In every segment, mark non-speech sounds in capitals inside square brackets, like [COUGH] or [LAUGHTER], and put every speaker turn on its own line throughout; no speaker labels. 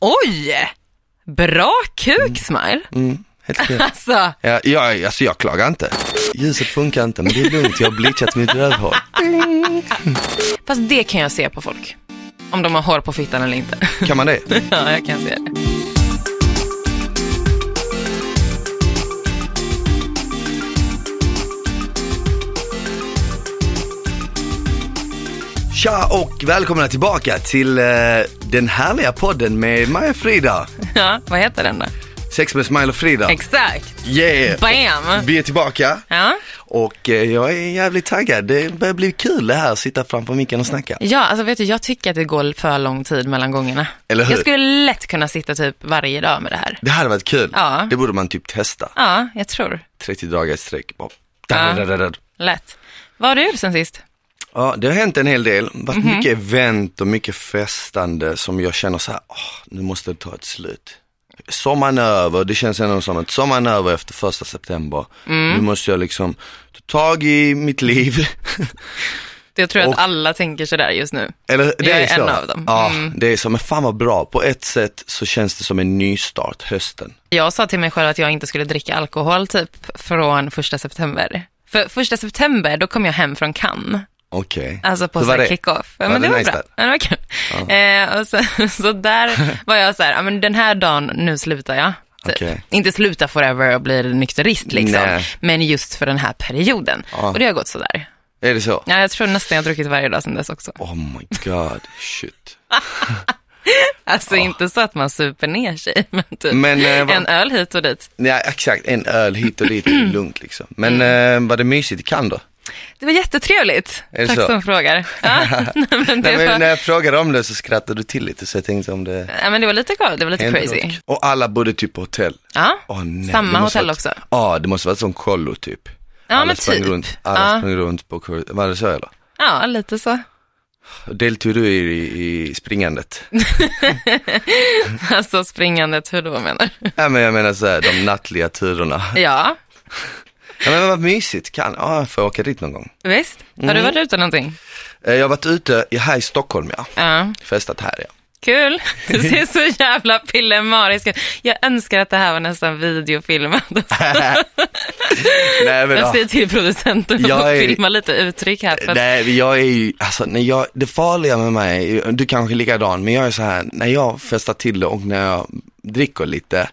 Oj! Bra kuk, Smile.
Mm, helt fel.
Alltså,
Ja, jag, alltså jag klagar inte. Ljuset funkar inte, men det är lugnt, jag har bleachat mitt rövhår.
fast det kan jag se på folk. Om de har hår på fittan eller inte. [LAUGHS]
Kan man det?
ja, jag kan se det.
Tja och välkomna tillbaka till eh, den härliga podden med Maja och Frida.
Ja, vad heter den då?
Sex med Smile och Frida.
Exakt.
Yeah!
Bam!
Vi är tillbaka
Ja.
och eh, jag är jävligt taggad. Det börjar bli kul det här, att sitta framför micken och snacka.
Ja, alltså vet du, jag tycker att det går för lång tid mellan gångerna.
Eller hur?
Jag skulle lätt kunna sitta typ varje dag med det här.
Det hade varit kul.
Ja.
Det borde man typ testa.
Ja, jag tror.
30 dagar i sträck. Bara.
Ja.
Där, där, där.
Lätt. Vad har du gjort sen sist?
Ja, det har hänt en hel del. varit
Mhm.
mycket event och mycket festande som jag känner så här, åh, nu måste det ta ett slut. Sommaren är över, det känns ändå som att sommaren är över efter första september.
Mm.
Nu måste jag liksom ta tag i mitt liv. [LAUGHS]
Jag tror
Och-
att alla tänker sådär just nu.
Eller, det
Jag är
så.
en av dem. Mm.
Ja, det är så, men fan vad bra. På ett sätt så känns det som en nystart, hösten.
Jag sa till mig själv att jag inte skulle dricka alkohol typ från första september. För första september, då kom jag hem från Cannes.
Okej.
Alltså på
Hur
så
var
här
det?
kick-off. Ja,
Var
men
det
det var
nice
bra. Ja, det var kul. Eh, och så, [LAUGHS] så där var jag så här, ja, men den här dagen, nu slutar jag. Typ.
Okej.
Inte sluta forever och bli nykterist liksom,
Nej.
men just för den här perioden.
Ja.
Och det har gått sådär.
Är det så?
Ja, jag tror nästan jag har druckit varje dag sedan dess också.
Oh my god, shit.
Alltså inte så att man super ner sig, [LAUGHS] men typ
Men, eh, vad-
en öl hit och dit.
Nej, exakt, en öl hit och dit, lugnt liksom. Men
Mm.
eh, var det mysigt i Cannes då?
Det var jättetrevligt.
Är det
Tack
så?
som frågar.
[LAUGHS]
Ja, nej, men det,
Nej, men när
var,
jag frågade om det så skrattade du till lite så jag tänkte om det
ja, men det var lite galet, det var lite
hände
crazy.
något. Och alla bodde typ på hotell.
Ja,
Åh, nej,
samma
det måste
hotell
varit-
också.
Ja, det måste varit som kollo typ.
Ja,
alla
men
sprang
typ.
runt, alla
Ja.
sprang runt på kor- Var det så eller?
Ja, lite så. [LAUGHS]
Deltog du i,
[LAUGHS]
i springandet?
Alltså springandet, hur då menar
[LAUGHS]
du?
ja, men jag menar så här, de nattliga turerna.
Ja,
Ja, men vad mysigt, kan, ja, jag får åka dit någon gång.
visst.
Mm.
Har du varit ute någonting?
Eh, Jag har varit ute i- här i Stockholm ja,
Ja,
festat här ja.
kul. [LAUGHS] Du ser så jävla pillemarisk ut. Jag önskar att det här var nästan
[LAUGHS]
videofilmat.
Nej, men, ja.
Jag säger till producenten
Jag
att
är-
filma lite uttryck här. För att,
Nej, jag är ju, alltså när jag, det farliga med mig, du kanske är likadan, men jag är så här, när jag festar till det och när jag dricker lite,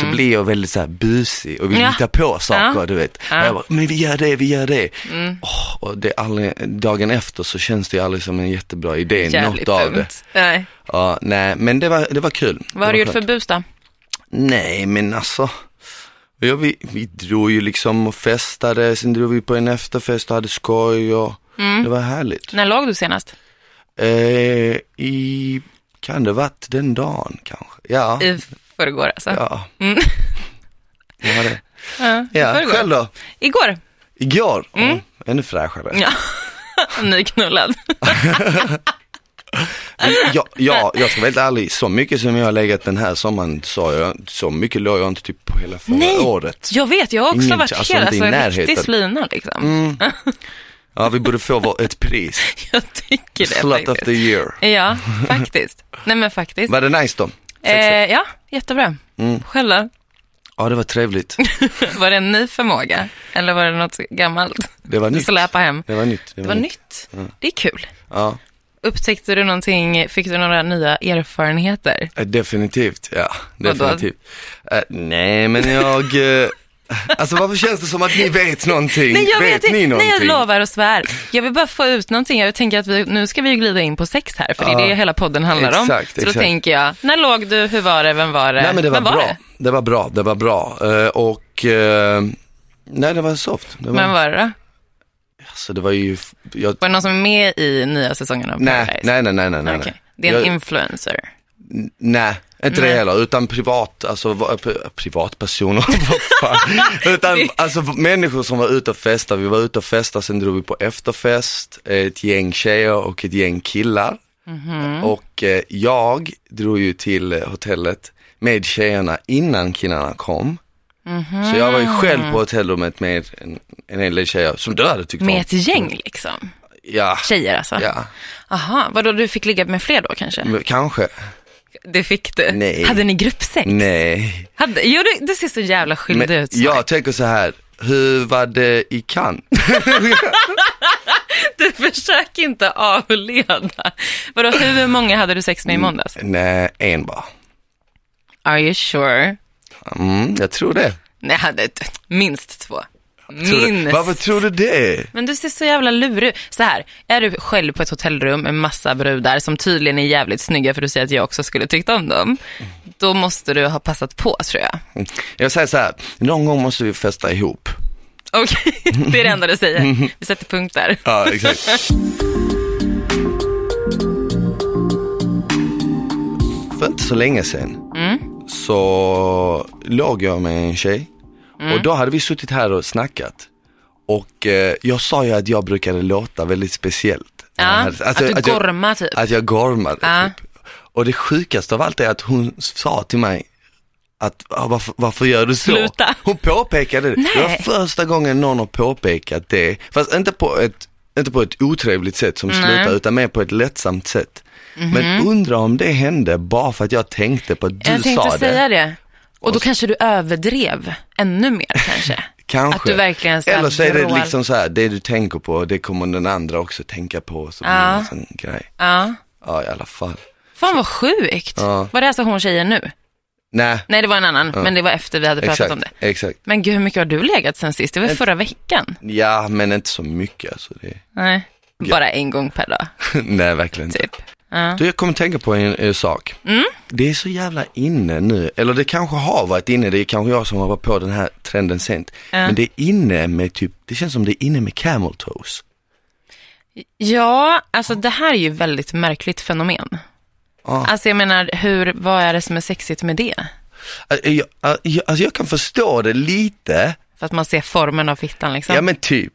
så blir jag väldigt så här busig och vill
Mhm. Ja.
hitta på saker, du vet.
Ja. Mm.
Och jag bara, men vi gör det, vi gör det. Åh, och det är aldrig, dagen efter så känns det ju aldrig som en jättebra idé,
jävligt
något av
dumt.
det.
Nej.
Ja, nej, men det var, det var kul. Det
Vad har
var
du gjort
skönt.
för bus då?
Nej, men alltså. Ja, vi, vi drog ju liksom och festade, sen drog vi på en efterfest och hade skoj och
Mm.
det var härligt.
När låg du senast?
Eh, I, kan det varit den dagen kanske? Ja,
I förrgår alltså?
ja.
Mm.
Det var det.
Ja, i
Ja,
förrgår.
själv då?
Igår.
Igår? Mm. ännu fräschare.
Ja. Nyknullad.
Ja, ja, jag ska vara helt ärlig, så mycket som jag har legat den här sommaren sa jag, så mycket låg jag inte typ på hela förra
Nej.
året.
Jag vet, jag har också
Ingen-
varit
alltså,
hel,
inte i
alltså riktig
närheten. Mm.
slina liksom.
Ja, vi borde få vår- ett pris.
[LAUGHS] Jag tycker det
Slut of
faktiskt.
the year.
Ja, faktiskt. Nej men faktiskt.
Var det nice då? Sexigt?
Eh, ja, jättebra.
Mm.
Själv då? [LAUGHS]
Ja, det var trevligt.
Var det en ny förmåga? Eller var det något gammalt?
Det var
Du
nytt. Mm.
släpa hem?
Det var nytt.
Det var nytt. Det är kul.
Ja,
Upptäckte du någonting, fick du några nya erfarenheter?
eh, definitivt. Ja,
Vadå?
definitivt. Eh, nej, men jag... eh, alltså varför känns det som att ni vet någonting?
Nej, jag
vet
vet inte.
ni
Nej,
någonting?
jag lovar och svär. Jag vill bara få ut någonting. Jag tänker att vi, nu ska vi ju glida in på sex här, för det är det hela podden handlar om.
Exakt,
Så då
exakt.
tänker jag, när låg du, hur var det, vem var det?
Nej, men det var
Vem
bra.
Det?
Det? var bra, det var bra. Eh, och... eh, nej, det var soft. Det var,
Vem var det då?
alltså, det var ju... f- Jag,
Var det någon som är med i nya säsongen av
nej,
Paradise?
nej, nej, nej, nej, nej.
Okej. Det är en
Jag-
influencer.
Nej, inte det heller, utan privat, alltså va- p- privatpersoner, [LAUGHS] vad fan. Utan alltså människor som var ute och festade, vi var ute och festade, sen drog vi på efterfest, eh, ett gäng tjejer och ett gäng killar. Och eh, jag drog ju till eh, hotellet med tjejerna innan killarna kom. Så jag var ju själv på hotellrummet med en, en hel del tjejer som du hade tyckt
Med
om.
ett gäng liksom.
Ja,
Tjejer alltså.
ja,
Aha, vadå du fick ligga med fler då kanske?
kanske.
Det fick du.
Nej.
Hade ni gruppsex?
Nej.
Hade, jo, du, du ser så jävla skyldig
Men
ut. så.
jag tänker så här, hur var det i Cannes?
[LAUGHS] Du försök inte avleda. Vadå, hur många hade du sex med
Mm.
i måndags?
Nej, en bara.
Are you sure?
Mm, jag tror det.
Nej, hade t- minst två.
Tror du- Varför
Minst.
tror du det?
Men du ser så jävla lurig ut. Så här, är du själv på ett hotellrum med massa brudar som tydligen är jävligt snygga för du säger att jag också skulle tyckt om dem. Då måste du ha passat på tror jag.
Mm. Jag säger så här, någon gång måste vi festa ihop.
Okej, [LAUGHS] det är det enda du säger. Vi sätter punkt där.
Ja, exakt.
[LAUGHS]
För inte så länge sedan
Mm.
så låg jag med en tjej
Mm.
och då hade vi suttit här och snackat. Och eh, jag sa ju att jag brukade låta väldigt speciellt.
Ja,
Alltså,
att du
jag-
gormar typ.
Att jag gormade.
Ja.
Typ. Och det sjukaste av allt är att hon sa till mig att "Ah, varför, varför gör du så?
Sluta.
Hon påpekade det. Det var första gången någon har påpekat det. Fast inte på ett, inte på ett otrevligt sätt som slutar utan mer på ett lättsamt sätt. Men undra om det hände bara för att jag tänkte på att du
Mhm. jag
sa
tänkte
det.
säga det. Och då kanske du överdrev ännu mer
[LAUGHS]
kanske.
Kanske.
Att du verkligen så här
Eller så är det
vrål-
liksom så här, det du tänker på det kommer den andra också tänka på. Så blir det en sån grej.
Ja.
Ja i alla fall.
Fan vad sjukt.
Ja.
Var det alltså hon tjejen nu?
Nej,
Nej, det var en annan, men det var efter vi hade pratat
exakt,
om det.
exakt.
Men gud, hur mycket har du legat sen sist? Det var ju förra veckan.
Ja, men inte så mycket alltså. Det... [LAUGHS]
Nej. Bara en gång per dag,
Nej, verkligen inte.
typ. Ja.
Du, jag kommer tänka på en, eh, sak. Det är så jävla inne nu, eller det kanske har varit inne, det är kanske jag som har varit på den här trenden sent. Men det är inne med typ, det känns som det är inne med camel toes.
ja, alltså det här är ju väldigt märkligt fenomen.
Ja.
Alltså jag menar, hur, vad är det som är sexigt med det?
Alltså jag, eh, jag, alltså jag kan förstå det lite,
För att man ser formen av fittan liksom.
ja men typ.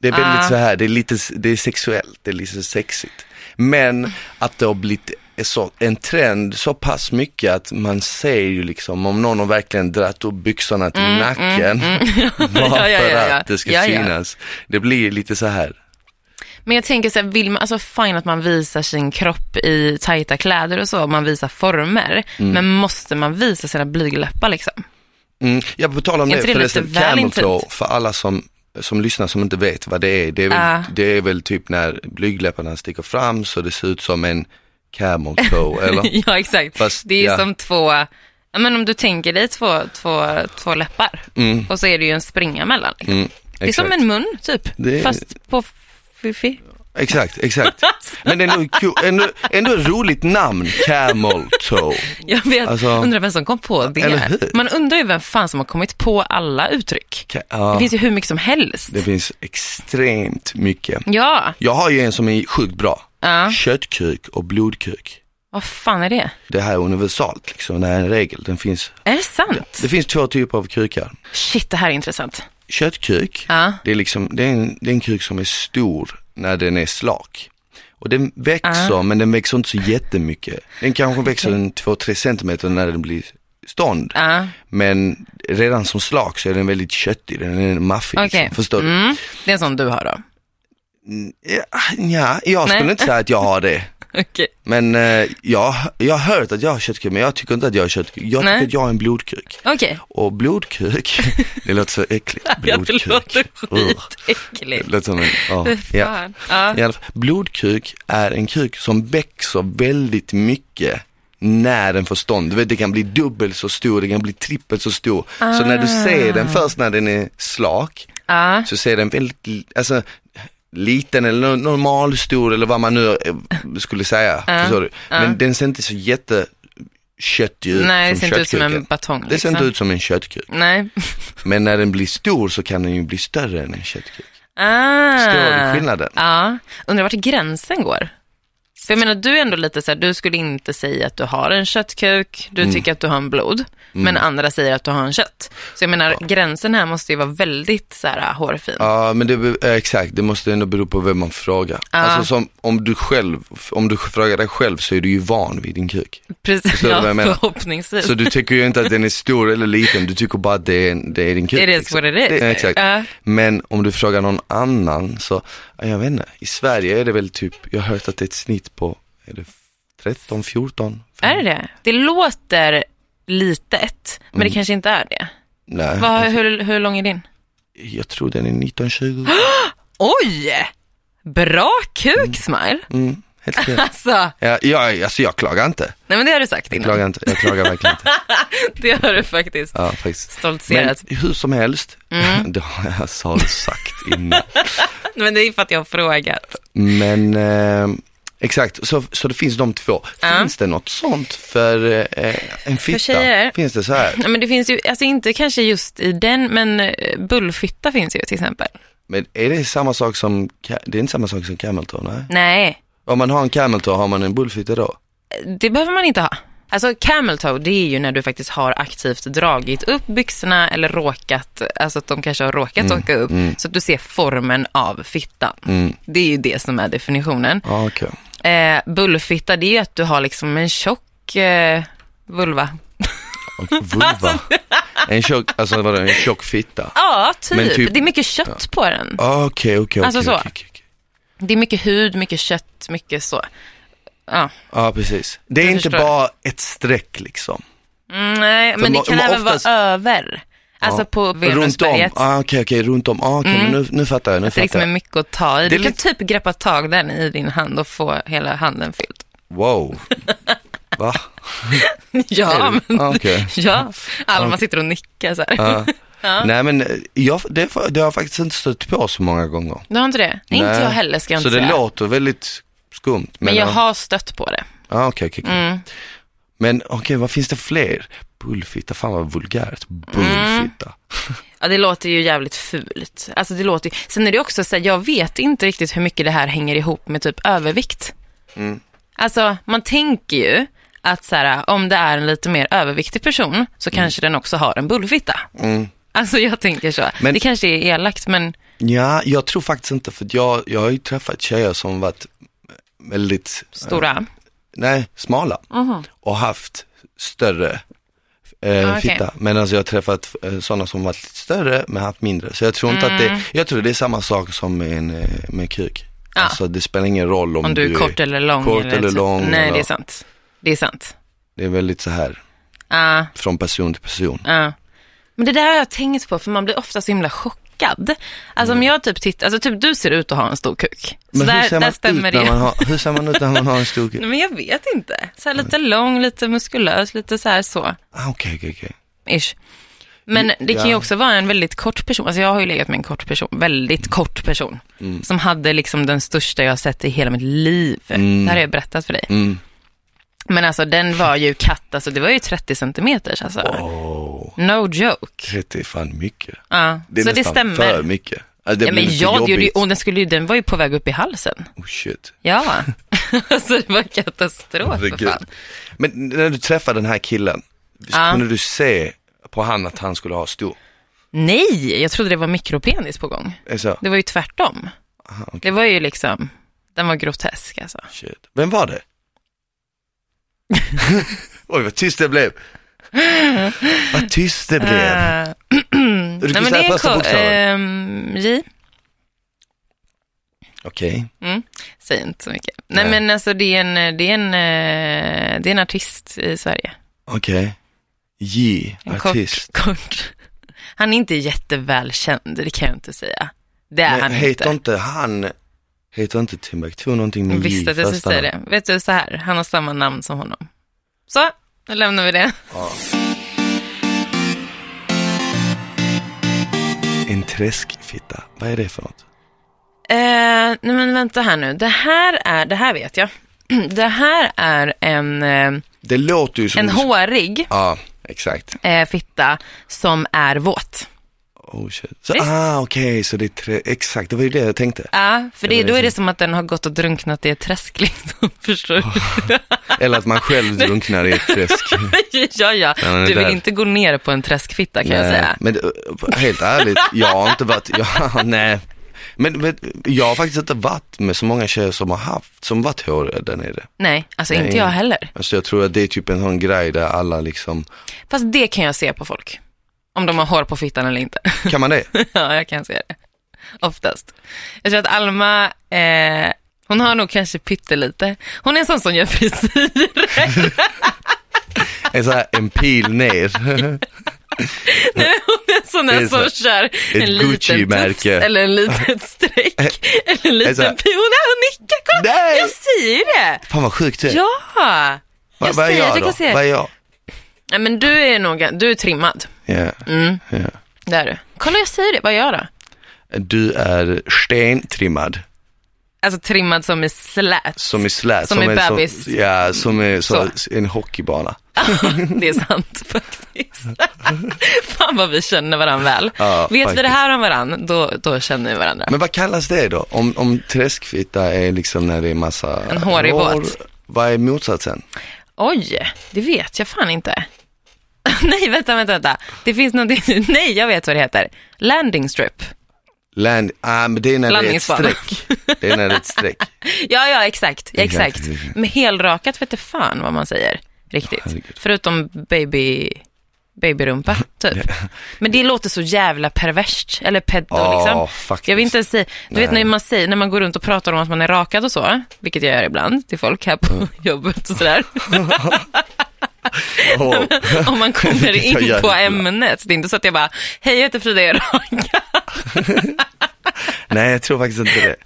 Det är väldigt
Ah.
så här, det är lite, s- det är sexuellt, det är lite sexigt. Men att det har blivit så, en trend så pass mycket att man ser ju liksom om någon har verkligen dratt upp byxorna till nacken. [LAUGHS] bara
Mm, [LAUGHS] Ja, ja,
för
ja, ja.
att det ska
Ja, ja.
synas. Det blir lite så här.
Men jag tänker så här, vill man, alltså fine att man visar sin kropp i tajta kläder och så, man visar former. Men måste man visa sina blygläppar liksom?
Mm. Jag på tal om
Är
det
inte det lite
förresten,
väl
camel
intimt?
toe, för alla som, som lyssnar som inte vet vad det är. Det är väl,
Ah.
det är väl typ när blygdläpparna sticker fram så det ser ut som en camel toe eller?
[LAUGHS] ja, exakt.
Fast,
det är ju
ja.
som två, ja, men om du tänker dig två, två, två läppar och så är det ju en springa mellan. Liksom.
Mm.
det är som en mun typ,
Det är-
fast på fiffi. [LAUGHS]
Exakt, exakt. Men ändå, kul- ändå, ändå ett roligt namn, Camel Toe.
Jag vet,
Alltså-
undrar vem som kom på det.
Eller hur?
Man undrar ju vem fan som har kommit på alla uttryck.
Ka-
Det
ja,
finns ju hur mycket som helst.
det finns extremt mycket.
Ja,
Jag har ju en som är sjukt bra.
Ja.
Köttkuk och blodkuk.
vad fan är det?
Det här är universalt, liksom. det här är en regel. Den finns,
Är det sant?
det finns två typer av kukar.
Shit, det här är intressant.
Köttkuk,
Ja.
det, är liksom, det, är en, det är en kuk som är stor när den är slak. Och den växer, men den växer inte så jättemycket. Den kanske växer en 2-3 centimeter när den blir stånd.
Ja.
Men redan som slak så är den väldigt köttig, den är maffig.
Okej.
Liksom. Förstår du?
Mm. Det är en sån du har då?
Ja, jag skulle
Nej.
inte säga att jag har det.
Okej.
Men eh, jag, jag har hört att jag har köttkuk, men jag tycker inte att jag har köttkuk. Jag tycker
Nej.
att jag har en blodkuk.
Okej. [LAUGHS]
Och blodkuk, det låter så äckligt.
Ja, det låter
Blodkuk. Ugh.
skitäckligt.
Det låter som en, ja.
Fy
ja.
Fan. Ja.
I alla fall, blodkuk är en kuk som växer väldigt mycket när den får stånd. Du vet, det kan bli dubbelt så stor, det kan bli trippelt så stor. Så när du ser
Ah.
den först när den är slak,
Ja.
så ser den väldigt, li- alltså liten eller no- normalstor eller vad man nu eh, skulle säga. Förstår du? Men den ser inte så jätteköttig ut
Nej, det ser
som
inte ut som en
köttkuken.
batong.
Det ser
liksom.
inte ut som en köttkuk.
Nej.
Men när den blir stor så kan den ju bli större än en köttkuk.
Ah.
Förstår du skillnaden?
Ja. Undrar vart gränsen går? För jag menar, du är ändå lite så här, du skulle inte säga att du har en köttkuk,
Mm.
du tycker att du har en blod, men andra säger att du har en kött. Så jag menar, gränsen här måste ju vara väldigt så här ah, hårfin.
Ja men det, be- eh, exakt, det måste ändå bero på vem man frågar. Alltså som, om du själv, om du frågar dig själv så är du ju van vid din kuk.
Precis,
du vad
ja,
jag menar?
förhoppningsvis.
Så du tycker ju inte att den är stor eller liten, du tycker bara att det är, det är din kuk.
It is
liksom.
what it is.
Det- Exakt.
Ja.
Men om du frågar någon annan så, ja, jag vet inte, i Sverige är det väl typ, jag har hört att det är ett snitt på, är det 13, 14.
Är det det? Det låter litet, men
Mm.
det kanske inte är det.
Nej,
Vad, hur, hur lång är din?
jag tror den är 19, 20.
Oj! Bra kuk, Smile.
Mm, helt
[LAUGHS]
klart.
Alltså,
Ja, jag, alltså jag klagar inte.
nej men det har du sagt
Jag
innan.
klagar, inte. Jag klagar
[LAUGHS]
verkligen inte.
Det har du faktiskt
Ja, faktiskt. Men
stoltserat.
hur som helst,
Mm.
[LAUGHS] det har jag så sagt innan.
Men, det är för att jag har frågat.
Men eh, exakt, så, så det finns de två.
Ja.
Finns det något sånt för eh, en fitta?
tjejer?
finns det så här?
Nej, Men det finns ju, alltså inte kanske just i den, men eh, bullfitta finns ju till exempel.
Men är det samma sak som, ca- det är inte samma sak som camel toe, nej?
Nej,
Om man har en camel toe, har man en bullfitta då?
det behöver man inte ha. Alltså camel toe, det är ju när du faktiskt har aktivt dragit upp byxorna eller råkat, alltså att de kanske har råkat åka upp, så att du ser formen av fittan. Det är ju det som är definitionen.
Ja, okej.
Eh, bullfitta, det är ju att du har liksom en tjock eh, vulva.
Och vulva. En tjock, alltså vadå, en tjock fitta?
Ja, typ.
Men typ-
Det är mycket kött på den.
Ah, Okej, okej,
Alltså
okej,
så.
okej, okej.
Det är mycket hud, mycket kött, mycket så. Ja,
Ja, precis. Det är
Jag
inte
förstår.
bara ett streck liksom.
mm, nej, men
ma-
det kan
ma-
även
oftast-
vara över. Alltså på
Runt om,
venusberget.
ah, okej, okej, runt om. Ah, okej, men nu, nu fattar jag, nu
Det är
fattar
liksom är
jag.
mycket Mm. att ta i.
Det är
Du kan
lite-
typ greppa tag den i din hand och få hela handen fylld. [LAUGHS]
Wow. Va?
Ja,
Är det?
men,
Ah,
[LAUGHS]
okej.
ja. Alma sitter och nickar så här.
Ja. Nej men eh, jag, det, det har jag faktiskt inte stött på så många gånger.
Du har inte det? Nej. Inte
Nej.
jag heller ska jag
Så
inte
det
säga.
låter väldigt skumt.
Men jag
ja.
har stött på det.
Ah, okay, okay,
Mm.
Men okej, vad finns det fler? Bullfitta, fan vad vulgärt. Bullfitta.
Ja, det låter ju jävligt fult. Alltså, det låter ju... Sen är det också så här, jag vet inte riktigt hur mycket det här hänger ihop med typ övervikt.
Mm.
Alltså, man tänker ju att så här, om det är en lite mer överviktig person så
Mm.
kanske den också har en bullfitta. Alltså jag tänker så.
Men-
Det kanske är elakt, men
Ja, jag tror faktiskt inte, för att jag, jag har ju träffat tjejer som varit väldigt,
stora.
nej, smala och haft större eh,
Ah, okej.
fitta. Men alltså jag har träffat eh, sådana som varit lite större men haft mindre. Så jag tror inte att
Mm.
det, jag tror det är samma sak som med, en, eh, med kuk.
Ja.
Alltså det spelar ingen roll om,
Om du är kort eller lång.
kort eller
typ-
lång
Nej,
eller-
det är sant. Det är sant. Ah.
Det är väldigt så här
Ja,
från person till person.
ja. Men det där har jag tänkt på, för man blir ofta så himla chockad. Alltså om jag typ tittar, alltså typ du ser ut att ha en stor kuk. Så
Mm. Men
där,
hur, ser
där
man ut
stämmer det.
när man har, hur ser man ut när man har en stor
[LAUGHS]
kuk?
Nej, Men jag vet inte. Så här lite lång, lite muskulös, lite så här så.
Ah, Okej, okej, okej.
Ish. Men det kan ju
Mm, Ja.
också vara en väldigt kort person. Alltså jag har ju legat med en kort person, väldigt kort person.
Mm.
Som hade liksom den största jag har sett i hela mitt liv. Det här har jag berättat för dig.
Mm.
Men alltså den var ju katt, alltså det var ju 30 centimeters alltså.
Åh,
No joke.
30 är fan mycket.
Ja,
Det är
så det
nästan
stämmer.
för mycket. Alltså, det
ja,
blir
men
lite
jag, det gjorde ju,
jobbigt.
och den, skulle ju, den var ju på väg upp i halsen.
Oh shit.
Ja, [LAUGHS] alltså det var katastrof för
Herregud.
fan.
Men när du träffade den här killen,
Ja.
kunde du se på han att han skulle ha stor?
Nej, jag trodde det var mikropenis på gång.
Är det Så,
Det var ju tvärtom.
aha, okej.
Det var ju liksom, den var grotesk alltså.
Shit. Vem
[LAUGHS]
var det? Oj vad tyst det blev. Vad tyst det blev.
Eh, [CLEARS THROAT]
Du
nej
kan
men
säga
det
första
är
bokstaven.
en um, J,
Okej.
säg inte så mycket. Nej,
Nej.
men alltså det är, en, det, är en, eh, det är en artist i Sverige.
Okej. J,
En
artist.
Kort, kort. [LAUGHS] Han är inte jättevälkänd, det kan jag inte säga. Det är
Men
han inte.
heter inte han, heter inte Timbuktu någonting med
Jag
J
visste att jag skulle
första
säga
namn?
det. Vet du, så här, han har samma namn som honom. Så, nu lämnar vi det.
En träskfitta, vad är det för något?
Eh, nej men vänta här nu, det här är, det här vet jag. [CLEARS THROAT] Det här är en, eh,
Det låter ju som...
en hårig
Ja, exakt.
eh, fitta som är våt.
Oh shit. Så,
Visst.
ah, okej, så det är trä... Exakt, det var ju det jag tänkte.
Ja, för det,
Ja, men
då
det
är
är
det som att den har gått och drunknat i ett träsk [LAUGHS] liksom, förstår du?
Eller att
[LAUGHS]
man själv drunknar i ett träsk.
ja, ja.
Ja, men det
Du vill
där-
inte gå ner på en träskfitta kan jag
Nej,
säga.
Men eh, helt ärligt, jag har inte varit, ja, [LAUGHS] nej. Men, men jag har faktiskt inte varit med så många tjejer som har haft, som varit håriga där nere.
Nej, alltså inte
Nej.
jag heller.
Alltså jag tror att det är typ en sån grej där alla liksom,
Fast det kan jag se på folk. Om de har hår på fittan eller inte. [LAUGHS]
kan man det?
ja, jag kan se det. Oftast. Jag tror att Alma eh, Hon har nog kanske pyttelite. Hon är en sån som gör frisyrer.
En sån här, en pil ner. [LAUGHS]
[LAUGHS] Nej, hon är en sån
Det
där
är så här,
som kör
ett
en liten tufs
Gucci-märke.
eller en
[LAUGHS]
liten streck. Eller en
så här-
liten pion. Hon nickar, kolla!
Nej!
Jag säger det!
Fan vad sjukt det är.
Ja!
Va-
Jag
vad är
säger att
jag
jag
då?
kan se.
Vad är jag?
Nej, men du är nog, du är trimmad.
Ja. Ja.
Det är du. Kolla, jag säger det. Vad gör jag då?
Du är stentrimmad.
Alltså trimmad som är slät.
Som är slät.
Som är
en sån-
bebis.
ja, som är så,
Så.
en hockeybana.
[LAUGHS] Det är sant faktiskt. [LAUGHS] Fan vad vi känner varandra väl.
Ja,
Vet vi
faktiskt.
det här om varandra, då, då känner vi varandra.
Men vad kallas det då? Om, om träskfitta är liksom när det är massa
En hårig båt.
Vad är motsatsen?
Oj, det vet jag fan inte. [LAUGHS] Nej, vänta, vänta, vänta. Det finns någonting. [LAUGHS] Nej, jag vet vad det heter. Landing strip.
Land, ah, men det är när det är ett
Landningsbana.
streck. Det är när det är ett streck.
Ja, ja, exakt.
Exakt.
exakt. Men helrakat vet jag fan vad man säger riktigt.
herregud.
Förutom baby,
[LAUGHS]
babyrumpa, typ. Men det låter så jävla perverst, eller peddo
Ja,
liksom.
faktiskt.
Jag vill inte ens säga, du vet
Nej.
när man, säger, när man går runt och pratar om att man är rakad och så, vilket jag gör ibland till folk här på
Mm.
[LAUGHS] jobbet och sådär.
Åh,
om man kommer
[LAUGHS] Vilket jag
in
gör
på
ibland.
ämnet. Det är inte så att jag bara, hej jag heter Frida, jag är rakad.
nej, jag tror faktiskt inte det.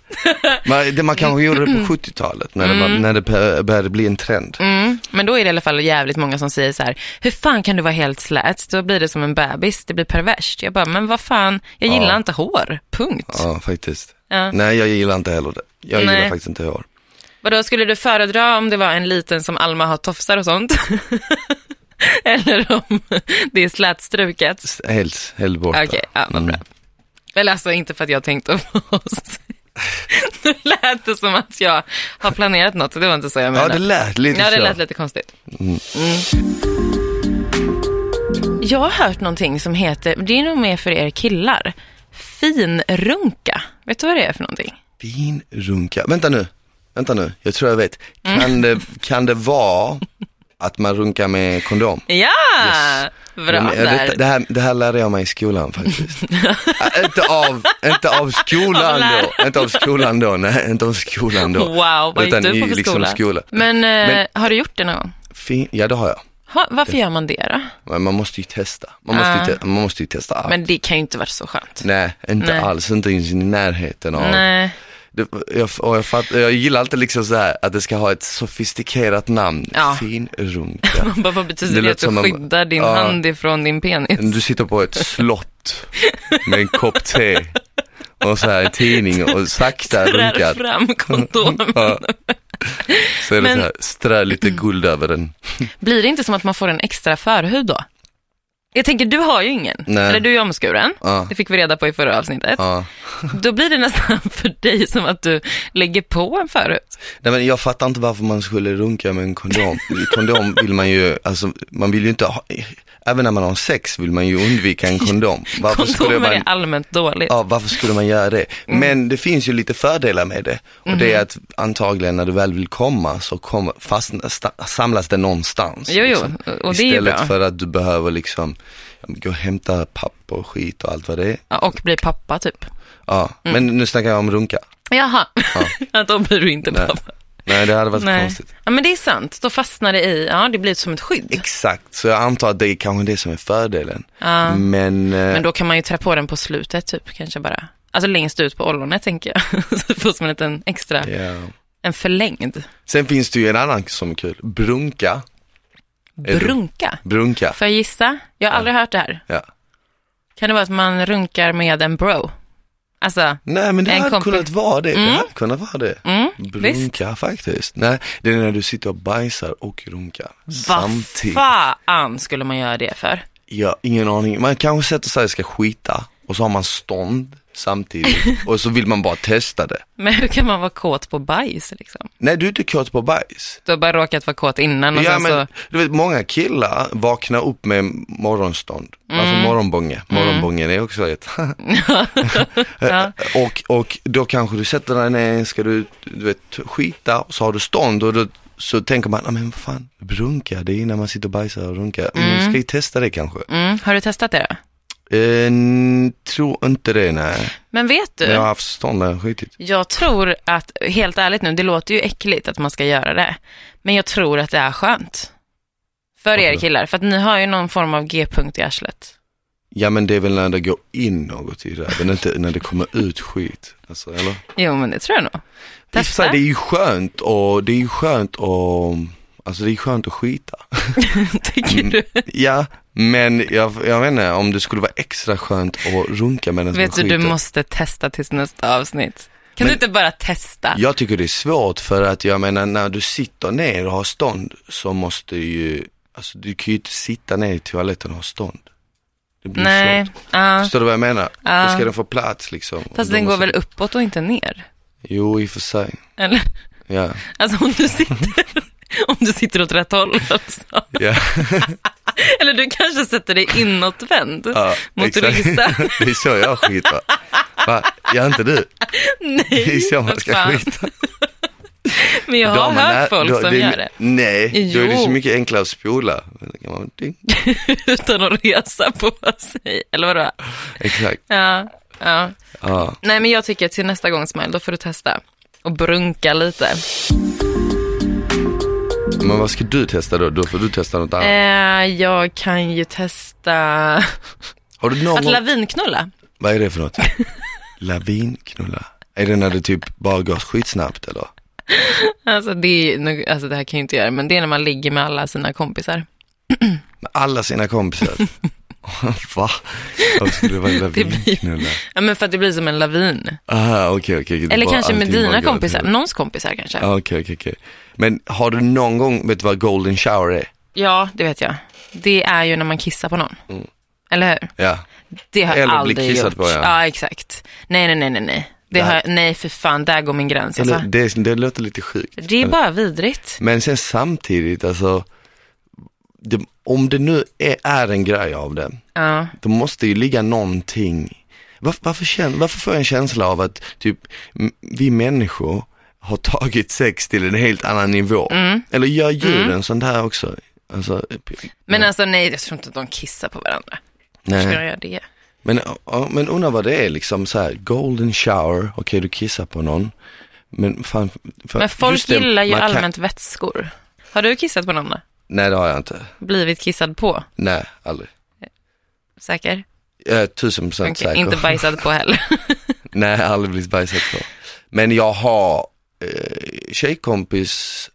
Man, det man kanske gjorde det på 70-talet när det, var, när det bör- började bli en trend.
Mm. Men då är det i alla fall jävligt många som säger så här, hur fan kan du vara helt slät? Då blir det som en bebis, det blir perverst. Jag bara, men vad fan, jag gillar inte hår, punkt.
Ja, faktiskt.
Ja.
Nej, jag gillar inte heller det. Jag
Nej.
gillar faktiskt inte hår.
Vadå, skulle du föredra om det var en liten som Alma har tofsar och sånt? [LAUGHS] Eller om det är slätstruket?
S- Helt, helt borta.
Okej, ja, vad bra. Eller alltså inte för att jag tänkte på oss. [LAUGHS] Nu lät det som att jag har planerat något och det var inte så jag
Ja,
menade.
det lät lite
Ja, det
så.
lät lite konstigt. Mm. Jag har hört någonting som heter, det är nog mer för er killar, finrunka. Vet du vad det är för någonting?
Vinrunka. Vänta nu, vänta nu, jag tror jag vet.
Mm.
Kan,
[LAUGHS]
det, kan det vara att man runkar med kondom?
Ja! Bra
Men,
där.
ja, det, det, här, det här lärde jag mig i
[LAUGHS]
skolan faktiskt. Äh, inte, av, inte av
Av
skolan
läraren.
då, inte av skolan då, nej, inte av skolan då.
Wow, vad gick
Utan
du på
i,
för
liksom,
skola?
skola.
Men, eh,
Men-
har du gjort det någon gång?
Fin, ja det har jag,
Ha, varför gör man det då?
men man måste ju testa. Man måste, ju, te- man måste ju testa allt.
Ah. Men det kan ju inte vara så skönt.
Nej, inte
Nej.
alls, inte ens i närheten av.
Nej.
Det, jag, och jag, fatt, jag gillar alltid liksom så här att det ska ha ett sofistikerat namn,
Ja.
finrunka.
Man bara, Vad betyder
Det
det,
låter
att du
som om-
skyddar din
Ja.
hand ifrån din penis?
Du sitter på ett slott med en kopp te och så här en tidning och sakta
Drar
runkar.
fram kondomen.
Ja. Så är det
Men-
så här, strö lite guld över den.
Blir det inte som att man får en extra förhud då? Jag tänker, du har ju ingen.
Nej.
Eller du är omskuren.
Ja.
Det fick vi reda på i förra avsnittet.
Ja.
Då blir det nästan [LAUGHS] för dig som att du lägger på en förhud.
Nej men jag fattar inte varför man skulle runka med en kondom. Kondom vill man ju, alltså man vill ju inte ha, även när man har sex vill man ju undvika en kondom. Varför skulle
Kondomer är
man,
allmänt dåligt.
ja, varför skulle man göra det?
Mm.
Men det finns ju lite fördelar med det. Och det
Mm-hmm.
är att antagligen när du väl vill komma så kommer, fastna, sta, samlas det någonstans.
Jo, jo, och det är ju
liksom. Istället
bra.
för att du behöver liksom gå och hämta papper och skit och allt vad det är.
Ja, Och blir pappa typ.
Ja, men nu snackar jag om runka.
Jaha, [LAUGHS] ja. då blir du inte
Nej.
pappa.
Nej, det hade varit konstigt.
Ja, men det är sant. Då fastnar det i, ja det blir som ett skydd.
Exakt, så jag antar att det är kanske det som är fördelen. Men, eh,
Men då kan man ju trä på den på slutet typ, kanske bara. Alltså längst ut på ollonet tänker jag. [LAUGHS] Så får som en liten extra,
ja.
en förlängd.
Sen finns det ju en annan som är kul, brunka. Är du-
Brunka.
Brunka,
Får jag gissa? Jag har aldrig hört det här.
ja.
Kan det vara att man runkar med en bro? Alltså,
Nej men det
En
hade
kompi-
kunnat vara det, det hade kunnat vara det. brunka faktiskt. Nej, det är när du sitter och bajsar och runkar
vad
samtidigt.
fan skulle man göra det för? [LAUGHS]
Ja, ingen aning. Man kanske sätter sig och ska skita och så har man stånd samtidigt och så vill man bara testa det.
Men hur kan man vara kåt på bajs liksom?
Nej du är inte kåt på bajs.
Du har bara råkat vara kåt innan och
Ja,
sen
men,
så...
du vet, många killar vaknar upp med morgonstånd, alltså morgonbånge. Morgonbången är också ett.
[LAUGHS]
[LAUGHS] och, och då kanske du sätter dig ner, ska du, du vet, skita och så har du stånd och då, så tänker man, "Ah, men vad fan, runka, det är när man sitter och bajsar och runkar. Mm. Ska vi testa det kanske?
Mm, har du testat det då?
Eh, tror inte det, nej.
Men vet du,
Men jag har haft stånd där, skitigt.
jag tror att, helt ärligt nu, det låter ju äckligt att man ska göra det, men jag tror att det är skönt. För er killar, för att ni har ju någon form av G-punkt i arslet.
Ja men det är väl när det går in något i röven, inte när det kommer ut skit. Alltså, eller?
Jo, men det tror jag nog.
I och för sig,
Testa.
Det är ju skönt och det är ju skönt och Alltså det är skönt
[LAUGHS]
att skita.
[LAUGHS] Tycker du?
Ja, men jag, jag vet inte om det skulle vara extra skönt att runka medan man
Vet du,
skiter.
du måste testa tills nästa avsnitt. Kan du
Men-
inte bara testa?
Jag tycker det är svårt för att jag menar när du sitter ner och har stånd så måste ju, alltså du kan ju inte sitta ner i toaletten och ha stånd. Det blir
Nej,
svårt.
ja.
Förstår du vad jag menar?
Ja.
Då ska den få plats liksom. Och
fast
då
den går
måste-
väl uppåt och inte ner?
Jo, i och för sig.
Eller? [LAUGHS]
Ja.
Alltså om du sitter, [LAUGHS] om du sitter åt rätt håll
[LAUGHS]
alltså.
Ja.
Eller du kanske sätter dig inåtvänd
[LAUGHS] Ja,
mot
exakt.
ryggstöd.
Det är så jag skiter. Va? Gör
[LAUGHS]
inte du?
Nej,
[LAUGHS] Det är så man
vad
ska
fan.
skita.
Men jag
Då
har
har man
hört
nä-
folk
då-
som
det är
gör
my-
det
Nej, då är det så
Jo.
mycket enklare att spola. Då kan man-
[LAUGHS]
ding.
utan att resa på sig. Eller vadå?
Exakt.
Ja, ja.
Ja.
Nej, men jag tycker till nästa gång, Smile, då får du testa och brunka lite.
Men vad ska du testa då? Då får du testa något annat.
Eh, jag kan ju testa
Har du någon
att
gång...
lavinknulla.
Vad är
[LAUGHS]
det för något? Lavinknulla? Är det när det typ bara går skitsnabbt eller?
Alltså det, är, ju nog- alltså det här kan jag ju inte göra, men det är när man ligger med alla sina kompisar.
Med alla sina kompisar?
[LAUGHS]
Va? Vad skulle det vara en
blir-
lavinknulla?
Ja, men för att det blir som en lavin.
Aha, okej, okej. okej. Det
Eller
bara-
kanske med
allting bara
dina
går åt
kompisar,
helvete.
någons kompisar kanske.
Ja, Okej, okej, okej. Men har du någon gång, vet du vad golden shower är?
Ja, det vet jag. Det är ju när man kissar på någon. Eller hur?
Ja.
Det har jag
Mm. Eller bli
aldrig
kissad
gjort.
på, ja.
ja. exakt. Nej, nej, nej, nej, nej. Det har, nej, för fan, där går min gräns.
Eller,
Alltså.
det, det låter lite sjukt.
Det är bara vidrigt.
Men sen samtidigt, alltså, det, om det nu är, är en grej av det,
Ja.
då måste ju ligga någonting. Varför, varför, kän, varför får jag en känsla av att typ, m- vi människor har tagit sex till en helt annan nivå?
Mm.
Eller gör djuren sånt här också? Alltså, p-
Men alltså nej, jag tror inte att de kissar på varandra. Hur ska de
nej.
göra det?
Men, ja, men undrar vad det är liksom så här, golden shower, okej du kissar på någon. Men, fan, för-
Men folk
just det,
gillar ju
man kan-
allmänt vätskor. Har du kissat på någon då?
Nej det har jag inte.
Blivit kissad på?
Nej, aldrig.
Säker?
Jag är tusen procent
Okej,
säker.
Inte bajsad på heller.
Nej, jag har aldrig blivit bajsad på. Men jag har eh, tjejkompis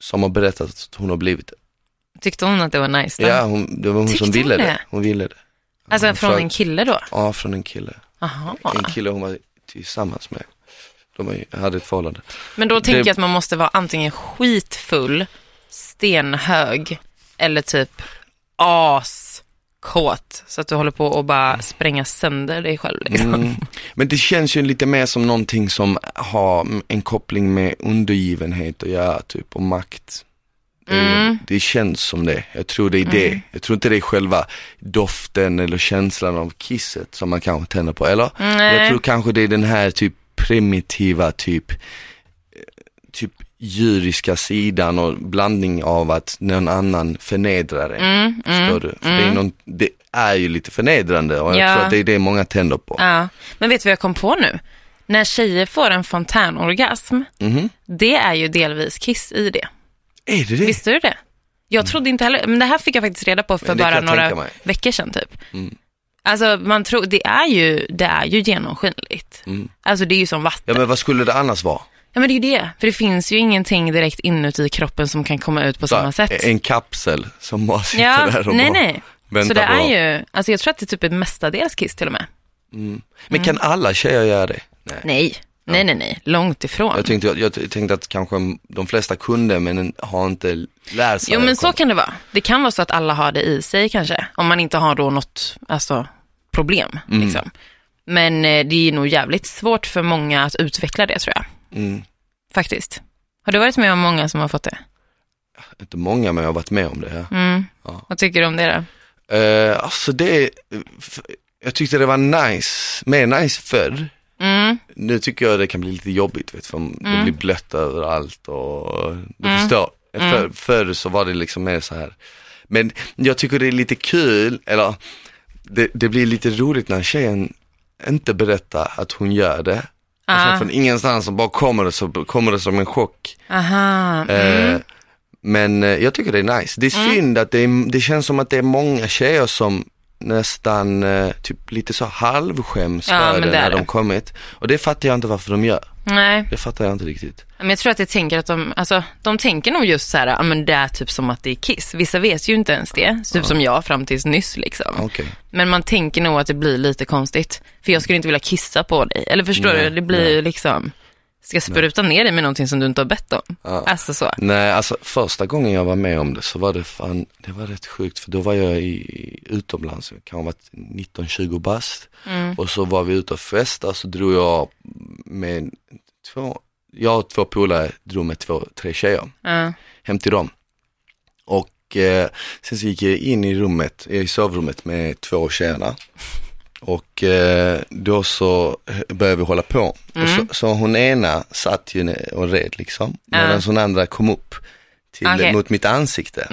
som har berättat att hon har blivit det.
[LAUGHS] Tyckte hon att det var nice då?
Ja, hon, det var hon
Tyckte
som ville
hon
det?
det?
Hon ville det.
alltså
hon
från
frågade-
en kille då?
Ja, från en kille.
Jaha.
En kille hon var tillsammans med. De var- hade ett förhållande.
Men då tänker
Det-
jag att man måste vara antingen skitfull, stenhög eller typ askåt. Så att du håller på att bara spränga sönder dig själv. Liksom.
Mm. Men det känns ju lite mer som någonting som har en koppling med undergivenhet att göra, typ, och makt. Det, det känns som det. Jag tror det är det. Jag tror inte det är själva doften eller känslan av kisset som man kanske tänder på, eller?
Nej.
Jag tror kanske det är den här typ primitiva, typ, eh, typ djuriska sidan och blandning av att någon annan förnedrar det.
Mm,
förstår du? För Det, är någon, det är ju lite förnedrande och jag
Ja.
tror att det är det många tänder på.
Ja. Men vet du vad jag kom på nu? När tjejer får en fontänorgasm, det är ju delvis kiss i det.
Mhm. Är det det?
Visste du det? Jag trodde inte heller, men det här fick jag faktiskt reda på för
Mm. Men det kan
bara
jag
några
tänka mig. Mm.
veckor sedan typ. Alltså man tror, det är ju, det är ju genomskinligt. Alltså det är ju som vatten.
Mm. Ja men vad skulle det annars vara?
Ja men det är ju det, för det finns ju ingenting direkt inuti kroppen som kan komma ut på samma
Så här,
sätt.
En kapsel som bara sitter
Ja,
där och
nej
bara
nej.
väntar
Så det
på...
är ju, alltså jag tror att det typ är mestadels kiss till och med.
Men kan
Mm.
alla tjejer göra det? Nej.
Nej, nej nej nej, långt ifrån.
Jag tänkte, jag, jag tänkte att kanske de flesta kunde men har inte lärt sig.
Jo men
att-
så kan det vara. Det kan vara så att alla har det i sig kanske, om man inte har då något alltså, problem.
Mm.
Liksom. Men eh, det är nog jävligt svårt för många att utveckla det tror jag.
Mm.
Faktiskt. Har du varit med om många som har fått det?
Inte många men jag har varit med om det. Ja.
Vad tycker du om det då?
Eh, alltså det, f- jag tyckte det var nice, mer nice förr.
Mm.
Nu tycker jag det kan bli lite jobbigt vet, för det blir blött överallt och du förstår. Eh, För, förr så var det liksom mer så här. Men jag tycker det är lite kul, eller det, det blir lite roligt när tjejen inte berättar att hon gör det. Och sen
Ah.
från ingenstans så bara kommer det, så kommer det som en chock.
Aha.
Eh,
Mm.
Men eh, jag tycker det är nice. Det är synd att det, är, det känns som att det är många tjejer som nästan eh, typ lite så halvskäms
Ja,
för
men
det
det är
när
det.
de kommit. Och det fattar jag inte varför de gör.
Nej,
Det fattar jag inte riktigt.
men jag tror att jag tänker att de, alltså, de tänker nog just så här, ja men det är typ som att det är Kiss. Vissa vet ju inte ens det, typ som jag fram tills nyss liksom.
Okej.
Men man tänker nog att det blir lite konstigt. För jag skulle inte vilja kissa på dig. Eller förstår
Nej,
du? Det blir ju liksom, ska jag spruta ner dig med någonting som du inte har bett om? Alltså så.
Nej, alltså första gången jag var med om det så var det fan, det var rätt sjukt för då var jag i, i utomlands, jag kan ha varit 19-20 bast
Mm.
och så var vi ute och festade så drog jag med två, jag och två polare drog med två, tre tjejer
Ja.
hem till dem. Och eh, sen så gick jag in i rummet, eh, i sovrummet med två av tjejerna. Och eh, då så började vi hålla på.
Mm.
Och så, så hon ena satt ju ner och red liksom. Medan hon andra kom upp till,
Okej. Mm.
mot mitt ansikte.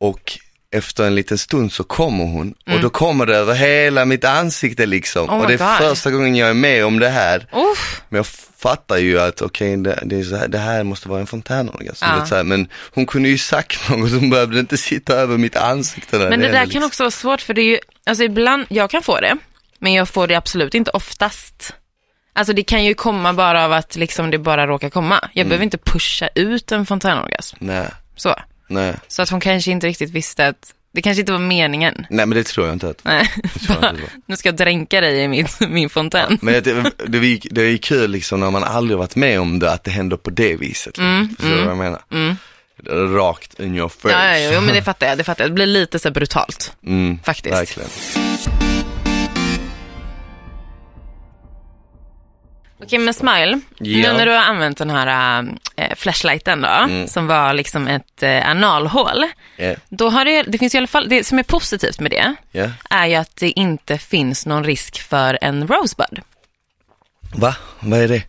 Och efter en liten stund så kommer hon och då kommer det över hela mitt ansikte liksom.
Mm. Oh my
och det är
God.
första gången jag är med om det här.
Uff.
Men jag fattar ju att okej, det, det, är så här, det här måste vara en fontänorgasm.
Ja.
du vet så här, Men hon kunde ju sagt [LAUGHS] något, hon behövde inte sitta över mitt ansikte. När
Men det
hände,
där kan
liksom.
också vara svårt för det är ju, alltså ibland, jag kan få det, men jag får det absolut inte oftast. Alltså det kan ju komma bara av att liksom det bara råkar komma. Jag
Mm.
behöver inte pusha ut en fontänorgasm.
Nej,
Så.
nej,
så att hon kanske inte riktigt visste att, det kanske inte var meningen.
nej men det tror jag inte att
Nej, [LAUGHS]
tror jag
bara,
inte det
nu ska jag dränka dig i min, min fontän.
Men det, det, är ju- det är ju kul liksom när man aldrig varit med om det, att det händer på det viset. Liksom.
Mm,
Förstår du vad jag menar? Rakt in your face.
Ja, ja, jo, men det fattar jag. Det fattar jag. Det blir lite så här brutalt,
Mm,
faktiskt.
verkligen.
Okej, men Smile,
Ja. Mm.
nu när du har använt den här äh, flashlighten då, som var liksom ett äh, analhål,
Ja,
då har det, det finns ju i alla fall, det som är positivt med det,
ja.
är ju att det inte finns någon risk för en rosebud.
Va? Vad är det?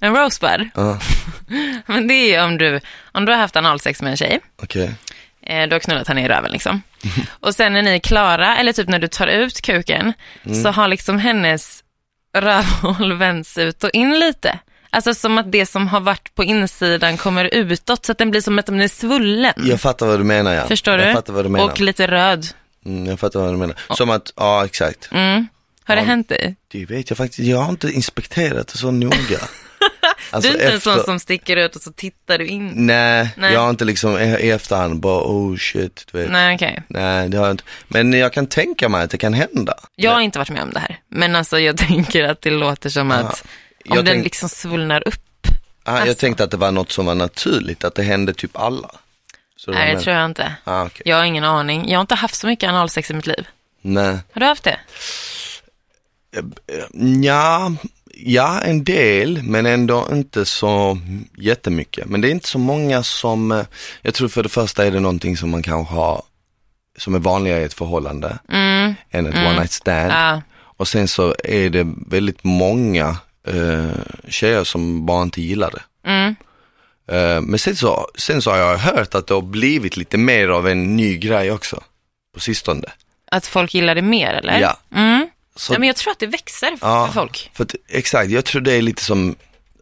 En rosebud,
Ja,
[LAUGHS] men det är ju om du, om du har haft analsex med en tjej,
okej.
Eh, Du har knullat henne i röven
[LAUGHS]
liksom. Och sen när ni är klara, eller typ när du tar ut kuken,
Mm.
så har liksom hennes rövhål [LAUGHS] vänts ut och in lite. Alltså som att det som har varit på insidan kommer utåt, så att den blir som att den är svullen.
Jag fattar vad du menar ja.
Förstår du?
Jag fattar vad du menar.
Och lite röd.
Mm, jag fattar vad du menar. Som att, ja exakt.
Mm. Har det hänt dig?
Det vet jag faktiskt, jag har inte inspekterat det
[LAUGHS]
så noga. Alltså,
du är inte en sån
efter-
som sticker ut och så tittar du in.
Nej,
Nej.
jag har inte liksom i i efterhand bara oh shit, du vet. Nej.
Nej, okej.
det har jag inte. Men jag kan tänka mig att det kan hända.
Jag har inte varit med om det här, men alltså jag [LAUGHS] tänker att det låter som att om
Jag
den
tänk-
liksom Alltså. svullnar upp.
Ah, Jag tänkte att det var något som var naturligt, att det hände typ alla. Så
Nej, det tror jag inte.
Ah, okej.
Jag har ingen aning. Jag har inte haft så mycket analsex i mitt liv.
Nej.
Har du haft det?
Ja, ja, en del, men ändå inte så jättemycket. Men det är inte så många som, eh, jag tror för det första är det någonting som man kanske har, som är vanligare i ett förhållande än ett one night stand.
Ja.
Och sen så är det väldigt många eh, tjejer som bara inte gillar det.
Mm.
Eh, men sen så, sen så har jag hört att det har blivit lite mer av en ny grej också på sistone.
Att folk gillar det mer eller?
Ja.
Mm.
Så-
ja men jag tror att det växer f-
Ja,
för folk.
För att, exakt, jag tror det är lite som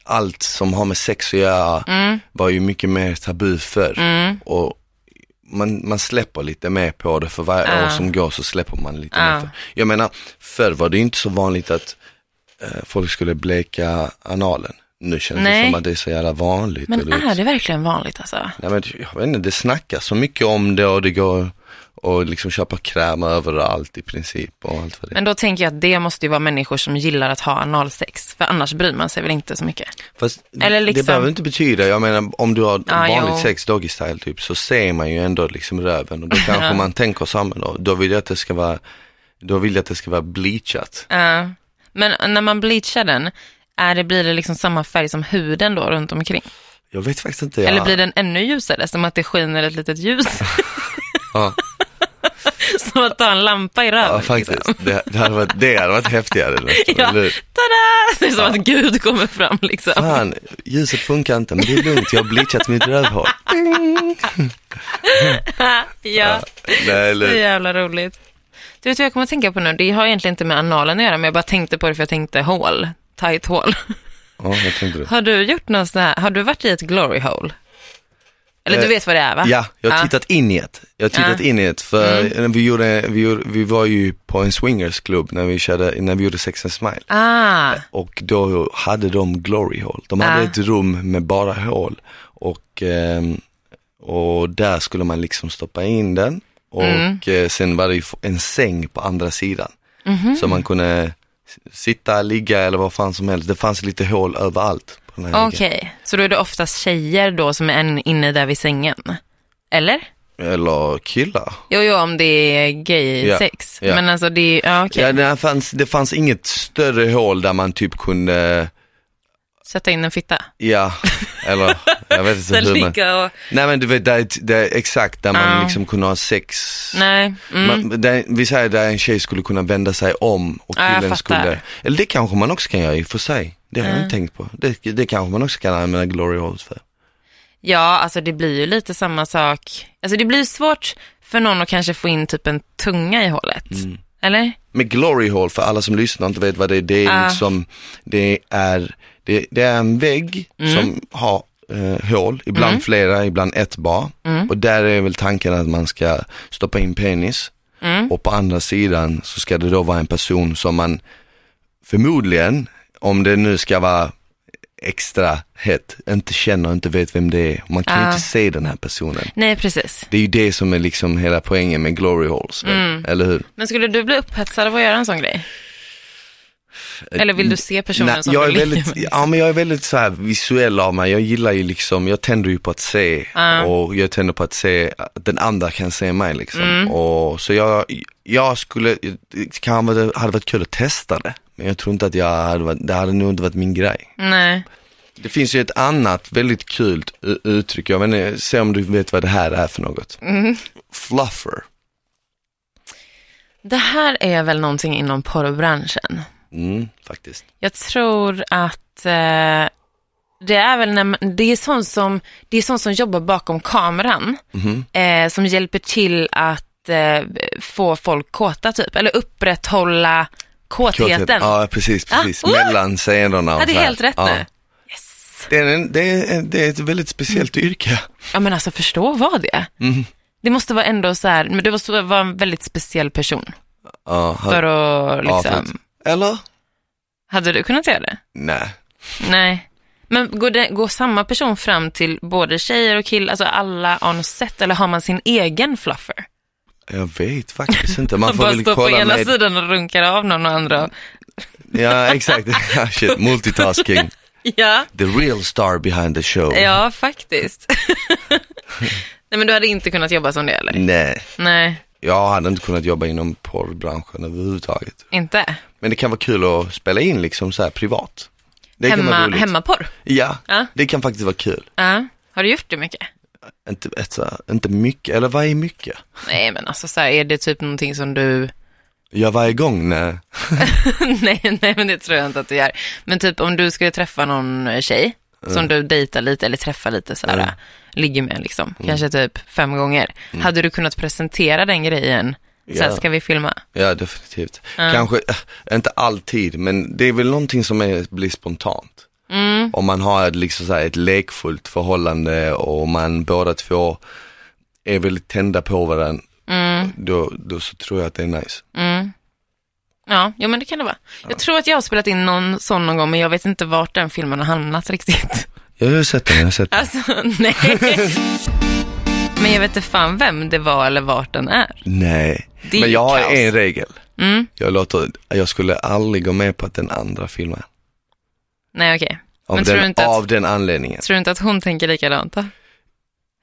allt som har med sex att göra
Mm.
var ju mycket mer tabu förr. Och man, man släpper lite mer på det för varje år som går så släpper man lite mer. För. Jag menar, förr var det ju inte så vanligt att eh, folk skulle bleka analen. Nu känns
Nej.
det som att det är så jävla vanligt. och
Men
du vet-
är det verkligen vanligt alltså?
Nej, men, jag vet inte, det snackas så mycket om det och det går och liksom köpa kräm överallt i princip och allt vad det är.
Men då tänker jag att det måste ju vara människor som gillar att ha analsex. För annars bryr man sig väl inte så mycket.
Fast
Eller liksom-
det behöver inte betyda, jag menar om du har
Ja,
vanligt
jo.
sex doggy style typ så ser man ju ändå liksom
[LAUGHS]
röven och då kanske man tänker samma då, då vill jag att det ska vara, då vill jag att det ska vara bleachat.
Ja. Men när man bleachar den, är det, blir det liksom samma färg som huden då runt omkring?
Jag vet faktiskt inte. Jag,
Eller blir den ännu ljusare? Som att det skiner ett litet ljus?
[LAUGHS] Ja,
[LAUGHS] som att ta en lampa i röven? liksom.
ja faktiskt. Det, det, hade varit, det hade
[LAUGHS]
varit häftigare. Liksom.
Ja.
Eller hur?
Tada! Det är som att Gud kommer fram liksom.
Fan, ljuset funkar inte men det är lugnt, jag har bleachat
[LAUGHS]
mitt rövhål.
Ja,
Nej,
så
eller,
jävla roligt. Du vet vad jag kommer att tänka på nu? Det har egentligen inte med analen att göra, men jag bara tänkte på det för jag tänkte hål. Tight hål. [LAUGHS]
Ja, vad tänkte du?
Har du gjort någon sån här, har du varit i ett glory hole? Eller du
Eh,
vet vad det är va?
Ja, jag har tittat in i ett. Jag har tittat in i ett för
Mm.
när vi, gjorde, vi, gjorde, vi var ju på en swingersklubb när vi, körde, när vi gjorde Sex and Smile.
Ah,
Och då hade de glory hole. De hade
Ah.
ett rum med bara hål. Och, ehm, och där skulle man liksom stoppa in den. Och
Mm.
eh, sen var det ju f- en säng på andra sidan.
Mhm.
Så man kunde s- sitta, ligga eller vad fan som helst. Det fanns lite hål överallt. På den här
okej. Så då är det oftast tjejer då som är en inne där vid sängen? Eller?
väggen. Eller killar.
Jo, jo, om det är gay
Ja,
sex.
ja.
Men alltså det är, ja okej.
Ja, det, fanns, det fanns inget större hål där man typ kunde,
Sätta in en fitta. [LAUGHS]
ja, eller jag vet inte
Sen
hur man...
ligga Ah. och,
Nej men du vet, det är, ett- det är exakt där man
Ja.
liksom kunde ha sex.
nej. Mm.
Man, där, vi säger där en tjej skulle kunna vända sig om och
Ja, jag
killen
fattar. Mm.
skulle, eller det kanske man också kan göra i och för sig. Det har jag inte tänkt på. Det, det kanske man också kan använda glory holes för.
Ja, alltså det blir ju lite samma sak. Alltså det blir ju svårt för någon att kanske få in typ en tunga i hålet.
Mm.
Eller?
Med glory hole, för alla som lyssnar och inte vet vad det är, det är
Ah.
liksom, det är, det, det är en vägg som har eh, hål, ibland flera, ibland ett bara. Och där är väl tanken att man ska stoppa in penis och på andra sidan så ska det då vara en person som man förmodligen, om det nu ska vara extra hett, inte känner, inte vet vem det är. Man kan ju inte se den här personen.
Nej, precis.
Det är ju det som är liksom hela poängen med glory holes, väl? eller hur?
Men skulle du bli upphetsad av att göra en sån grej? Eller vill du se personen
Eh, Nej,
som
jag
du
är
ligger
väldigt,
med? liksom.
Ja men jag är väldigt så här visuell av mig, jag gillar ju liksom, jag tänder ju på att se
Ah.
och jag tänder på att se att den andra kan se mig liksom.
Mm.
Och, så jag, jag skulle, det kan vara- det hade varit kul att testa det, men jag tror inte att jag hade varit, det hade nog inte varit min grej.
[LAUGHS] Nej.
Det finns ju ett annat väldigt kul u- uttryck, jag vet inte, se om du vet vad det här är för något.
Mm.
Fluffer.
Det här är väl någonting inom porrbranschen.
Mm, faktiskt.
Jag tror att eh, det är väl när man, det är sånt som, det är sånt som jobbar bakom kameran
Mhm.
eh, som hjälper till att eh, få folk kåta typ, eller upprätthålla kåtheten.
Ja, precis, precis.
Ah, oh!
Mellan scenerna och
Ja, det
så
är
här.
helt rätt
Ja.
nu.
Det är, en, det, är, det är ett väldigt speciellt
Mm.
yrke.
Ja men alltså förstå vad det är.
Mhm.
Det måste vara ändå så här, men det måste vara en väldigt speciell person
Ja, han-
för att
ja,
liksom,
för att- Eller?
hade du kunnat göra det?
Nej.
Nej. Men går, det, går samma person fram till både tjejer och killar, alltså alla on set, eller har man sin egen fluffer?
Jag vet faktiskt inte.
[LAUGHS]
Man
Man
får
bara
väl
står på
kolla
ena
med...
sidan och runkar av någon och andra. [LAUGHS]
Ja, exakt. Ja, Shit, multitasking.
Ja,
The real star behind the show.
ja
[LAUGHS]
faktiskt. Nej men du hade inte kunnat jobba som det eller?
Nej,
Nej,
jag hade inte kunnat jobba inom porrbranschen överhuvudtaget.
inte.
Men det kan vara kul att spela in liksom så här privat. Det kan vara
Hemma,
roligt.
hemmaporr?
Ja,
Ja.
det kan faktiskt vara kul.
Ja. Har du gjort det mycket?
Inte, alltså, inte mycket, eller vad är mycket?
Nej men alltså så här, är det typ någonting som du
Jag var igång när,
[LAUGHS] nej, nej, men det tror jag inte att du gör. Men typ om du skulle träffa någon eh, tjej
Mm.
som du dejtar lite eller träffar lite så här, ligger med liksom,
Mm.
kanske typ fem gånger. Hade du kunnat presentera den grejen? Så här,
Ja.
ska vi filma?
ja definitivt. Kanske, äh, inte alltid, men det är väl någonting som är, blir spontant.
Mm,
om man har ett, liksom så här, ett lekfullt förhållande och man båda två är väldigt tända på varandra,
mm,
då, då så tror jag att det är nice.
mm. Ja, jo, men det kan det vara. Jag tror att jag har spelat in någon sån någon gång, men jag vet inte vart den filmen har hamnat riktigt. [LAUGHS]
Jag har sett den, jag har sett den.
Alltså,
[LAUGHS]
nej. Men jag vet inte fan vem det var eller vart den är.
Nej,
Det är
men jag har
kaos.
en regel.
Mm.
Jag, låter, jag skulle aldrig gå med på att den andra filmar.
Nej, okej.
Av,
Men tror du
den,
inte att-
av den anledningen.
Tror du inte att hon tänker likadant då?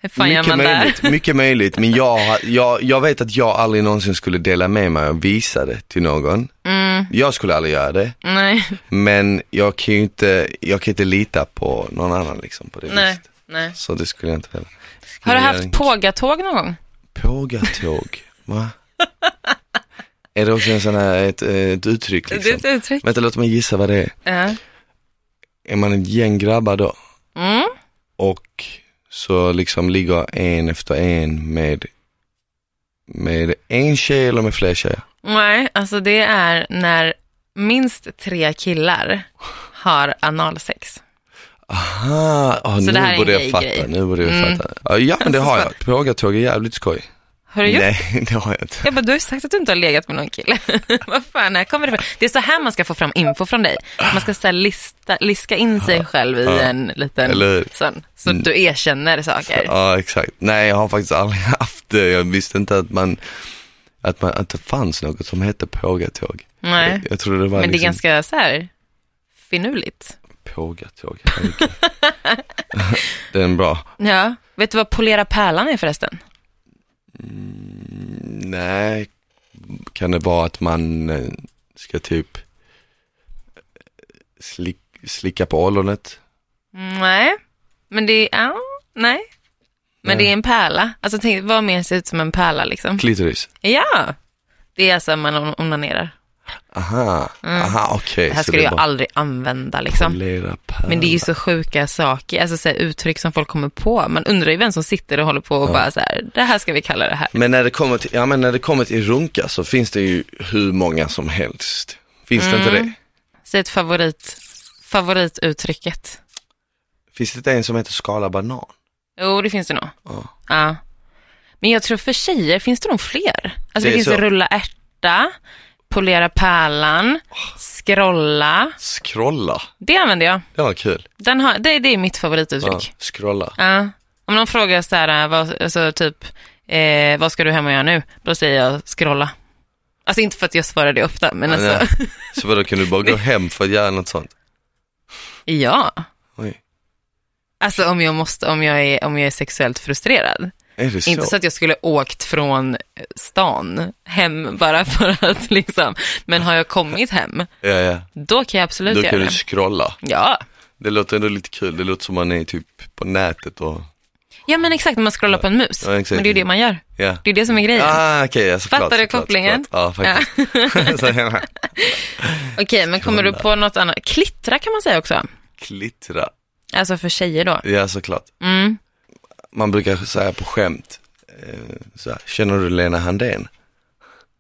Hur fan gör
mycket
man där?
möjligt, mycket möjligt, men jag, har- jag, jag vet att jag aldrig någonsin skulle dela med mig och visa det till någon.
Mm,
Jag skulle aldrig göra det,
nej,
men jag kan ju inte, jag kan inte lita på någon annan liksom på det
nej,
viset.
nej.
Så det skulle jag inte heller.
Har
Skulle
du
jag
haft
inte-
pågatåg någon gång?
Pågatåg, va? är det också en sån här, ett, ett uttryck
Det är
liksom?
ett uttryck.
Vänta, låt mig gissa vad det är.
Ja.
Är man ett gäng grabbar då
Mm.
och så liksom ligger en efter en med, med en tjej eller med fler tjejer?
Nej, alltså det är när minst tre killar har analsex.
Aha, ah,
Så
nu
det här är en Mm.
borde jag
gay-grej.
fatta. Nu borde jag fatta. Ja, Ja, men det har jag. Pågatåg är jävligt skoj.
Har du gjort?
Nej, [LAUGHS] det har jag inte.
Jag bara, du har ju sagt att du inte har legat med någon kille. [LAUGHS] Vad fan, här kommer det ifrån? Det är så här man ska få fram info från dig. Man ska så här lista, liska in sig själv i en liten
Eller hur?
sån, så att du erkänner saker.
Ja, exakt. Nej, jag har faktiskt aldrig [LAUGHS] haft det. Jag visste inte att man, att man, att det fanns något som hette pågatåg.
Nej.
Jag, jag trodde det var
Men det är
liksom
ganska så här finurligt.
pågatåg. Herregud.
[LAUGHS]
det är en bra.
Ja, vet du vad polera pärlan är förresten?
Nej, kan det vara att man eh, ska typ slick, slicka på ollonet?
Nej, men det är, ja, nej. Men det är en pärla. Alltså tänk, vad mer ser ut som en pärla liksom?
Klitoris?
Ja, det är alltså man onanerar.
Aha, aha okej.
Mm. Det här
så
skulle
det är
jag
bara
aldrig använda liksom.
polera
Men det är ju
pärla.
så sjuka saker, alltså så här, uttryck som folk kommer på. Man undrar ju vem som sitter och håller på och bara så här, det här ska vi kalla det här.
Men när det kommer till, ja men när det kommer till runka så finns det ju hur många som helst. Finns det
Mm.
inte det?
Säg ett favorit, favorituttrycket.
Finns det inte en som heter skala banan?
Jo, det finns det nog.
Ja.
Ja. Men jag tror för tjejer finns det nog fler. Alltså det,
Det är
finns
så.
rulla ärta, polera pärlan, scrolla.
Scrolla,
Det använder jag.
det var kul.
Den har, det, det är mitt
Ja,
favorituttryck.
scrolla.
Ja. Om någon frågar så här, vad, alltså, typ, eh, vad ska du hem och göra nu? Då säger jag scrolla. Alltså inte för att jag svarar det ofta, men alltså,
Nej. Så vadå, kan du
[LAUGHS]
bara gå hem för att göra något sånt?
ja.
Oj,
Alltså om jag, måste, om, jag är, om jag är sexuellt frustrerad.
är det så?
Inte så att jag skulle åkt från eh, stan hem bara [LAUGHS] för att liksom, men har jag kommit hem,
Ja, ja.
då kan jag absolut
Då
göra
kan du
det.
scrolla.
Ja.
Det låter ändå lite kul, det låter som man är typ på nätet och,
ja, men exakt, när man scrollar på en mus.
Ja, exakt.
men det är ju det man gör.
ja.
Det är det som är grejen.
Ah, okej, ja, såklart,
Fattar du
såklart,
kopplingen?
Såklart. Ja,
[LAUGHS]
faktiskt. [LAUGHS] Så hela-
Okej, men kommer du
Scrolla.
på något annat? Klittra kan man säga också.
Klittra,
Alltså för tjejer då.
ja såklart.
Mm.
Man brukar säga på skämt, eh, så här, känner du Lena Handén?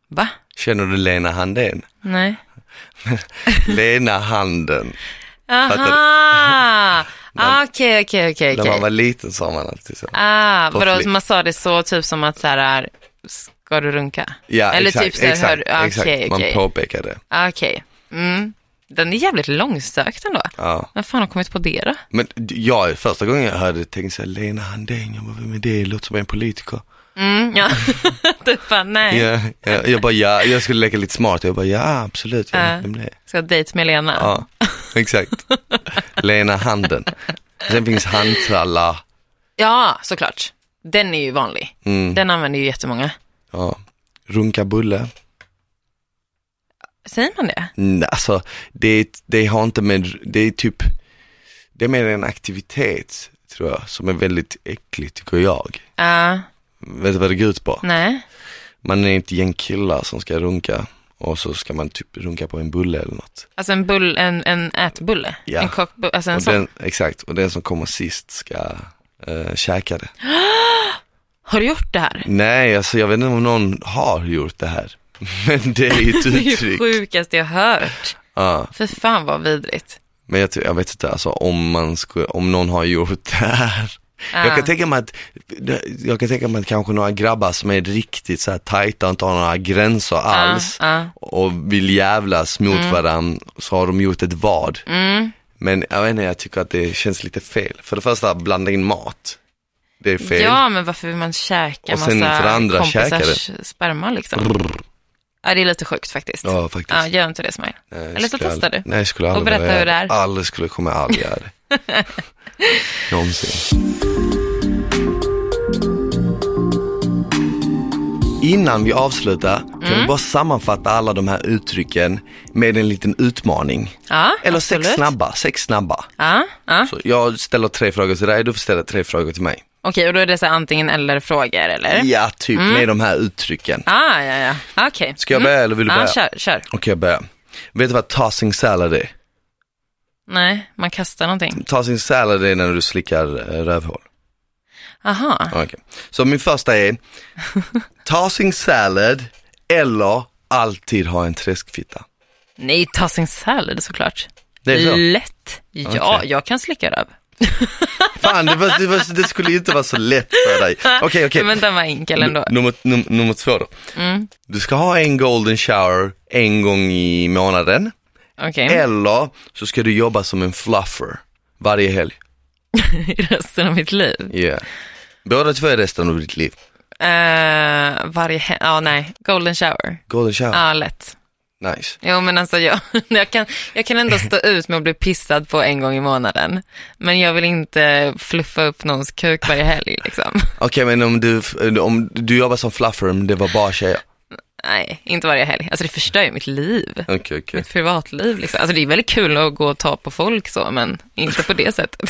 Va?
Känner du
[LAUGHS]
Lena Handén?
Nej.
Lena Handen.
Aha! Ah, Okej, okej, okej.
När man
okej.
var liten sa man alltid så.
Ah,
på
vadå,
flick.
man sa det så, typ som att så här, ska du runka?
Ja,
Eller
exakt,
typ så här,
exakt,
hör du- ah,
exakt.
okej,
man
okej.
påpekar det.
Ah, Okej. Mm. Den är jävligt långsökt ändå.
Ja.
Vem fan har kommit på det då?
Men d- jag, första gången jag hörde det tänkte jag Lena Handén, jag bara, vem är det? Det Låter som en politiker.
Mm, ja. [LAUGHS] du fan, nej.
Ja, ja, jag bara, ja, jag skulle leka lite smart. Jag bara, ja absolut, jag
Ja.
vet vem det är.
Ska jag dejt med Lena?
Ja,
[LAUGHS]
exakt. Lena Handen. Sen finns handtralla.
Ja, såklart. Den är ju vanlig.
Mm,
Den använder ju jättemånga.
ja. Runka bulle.
Säger man det?
Mm, alltså, det, det har inte med, det är typ, det är mer en aktivitet tror jag, som är väldigt äcklig tycker jag.
Ja,
Vet du vad det går ut på?
nej.
Man är ett gäng killar som ska runka och så ska man typ runka på en bulle eller något.
Alltså en, bull, en, en ätbulle?
Ja.
En kockbulle? Alltså en
Och
sån.
den, exakt, och den som kommer sist ska uh, käka det.
Har du gjort det här?
Nej, alltså jag vet inte om någon har gjort det här. [LAUGHS] Men [LAUGHS] det är ju ett
Det är ju
uttryck.
sjukaste jag hört.
Ja,
För fan vad vidrigt.
men jag, tror- jag vet inte, alltså om, man skulle, om någon har gjort det här.
Ah.
Jag kan tänka mig att, jag kan tänka mig att kanske några grabbar som är riktigt så här tajta och inte har några
Ah,
gränser alls
ja.
och vill jävlas mot varandra så har de gjort ett vad.
Mm.
Men jag vet inte, jag tycker att det känns lite fel. För det första, blanda in mat. Det är fel.
Ja, men varför vill man käka
Och sen
massa
för andra
kompisars sperma liksom? Ja, det är lite sjukt faktiskt. Ja,
Ja, faktiskt.
gör inte det Smile.
Nej, jag
Eller så
skulle
testar
aldrig-
du.
Nej, jag skulle aldrig
Och berätta
vilja
hur det
göra
är.
Aldrig skulle, kommer aldrig göra
[LAUGHS]
det. Någonsin. Innan vi avslutar kan
Mm.
vi bara sammanfatta alla de här uttrycken med en liten utmaning.
Ja,
Eller
absolut.
sex snabba, sex snabba.
Ja, ja.
Så jag ställer tre frågor till dig, du får ställa tre frågor till mig.
Okej, och då är det så här antingen eller frågor eller? Ja,
Ja, typ
Mm.
med de här uttrycken.
ah, ja, ja. Ah, Okej.
Ska jag börja eller vill du
Ja,
börja?
kör, kör.
Okej, jag börjar. Vet du vad tossing salad är?
Nej, man kastar någonting.
Tossing salad är när du slickar eh, rövhål.
Aha.
Okej. Så min första är tossing salad eller alltid ha en träskfitta?
Nej, tasinsallad såklart.
Det är så?
Mm. Lätt. Ja,
Okej.
jag kan slicka röv.
Fan, det, var, det, var, det skulle ju inte vara så lätt
[LAUGHS]
för dig. Okej, okej.
Men den var enkel ändå. Mm.
Nummer, num, nummer två då. Du ska ha en golden shower en gång i månaden. Mm.
Okej, [LAUGHS]
Eller så ska du jobba som en fluffer varje helg.
resten av mitt liv.
Yeah. Båda två är resten av ditt liv.
Eh, varje he- Ja, nej. Golden shower.
Golden shower,
Ja, lätt.
nice.
Jo, men alltså jag, [LAUGHS] jag, kan, jag kan ändå stå ut med att bli pissad på en gång i månaden. Men jag vill inte fluffa upp någons kuk varje helg liksom. [LAUGHS]
Okej, men om du, om du jobbar som fluffer, men det var bara tjejer?
Nej, inte varje helg. Alltså det förstör ju mitt liv.
Okej, okej.
Mitt privatliv liksom. Alltså det är väldigt kul att gå och ta på folk så, men inte på det sättet.
[LAUGHS]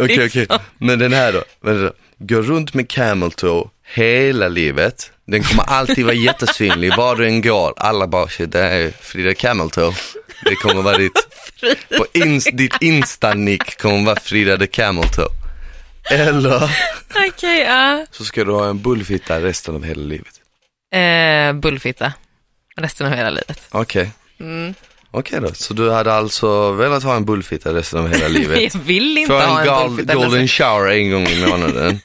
Okej,
Liksom.
okej. Men den här då, vänta då. Gå runt med camel toe hela livet. Den kommer alltid vara jättesynlig, var du än går. Alla bara, shit, det är Frida camel toe. Det kommer vara ditt, på ins, ditt insta-nick kommer vara Frida the camel toe. Eller
Okej, ja.
så ska du ha en bullfitta resten av hela livet.
Eh, bullfitta. Resten av hela livet.
Okej.
Mm.
Okej då, så du hade alltså velat ha en bullfitta resten av hela
[LAUGHS]
livet.
Jag vill inte
Få
ha
en
en
gal,
bullfitta.
golden shower en gång i månaden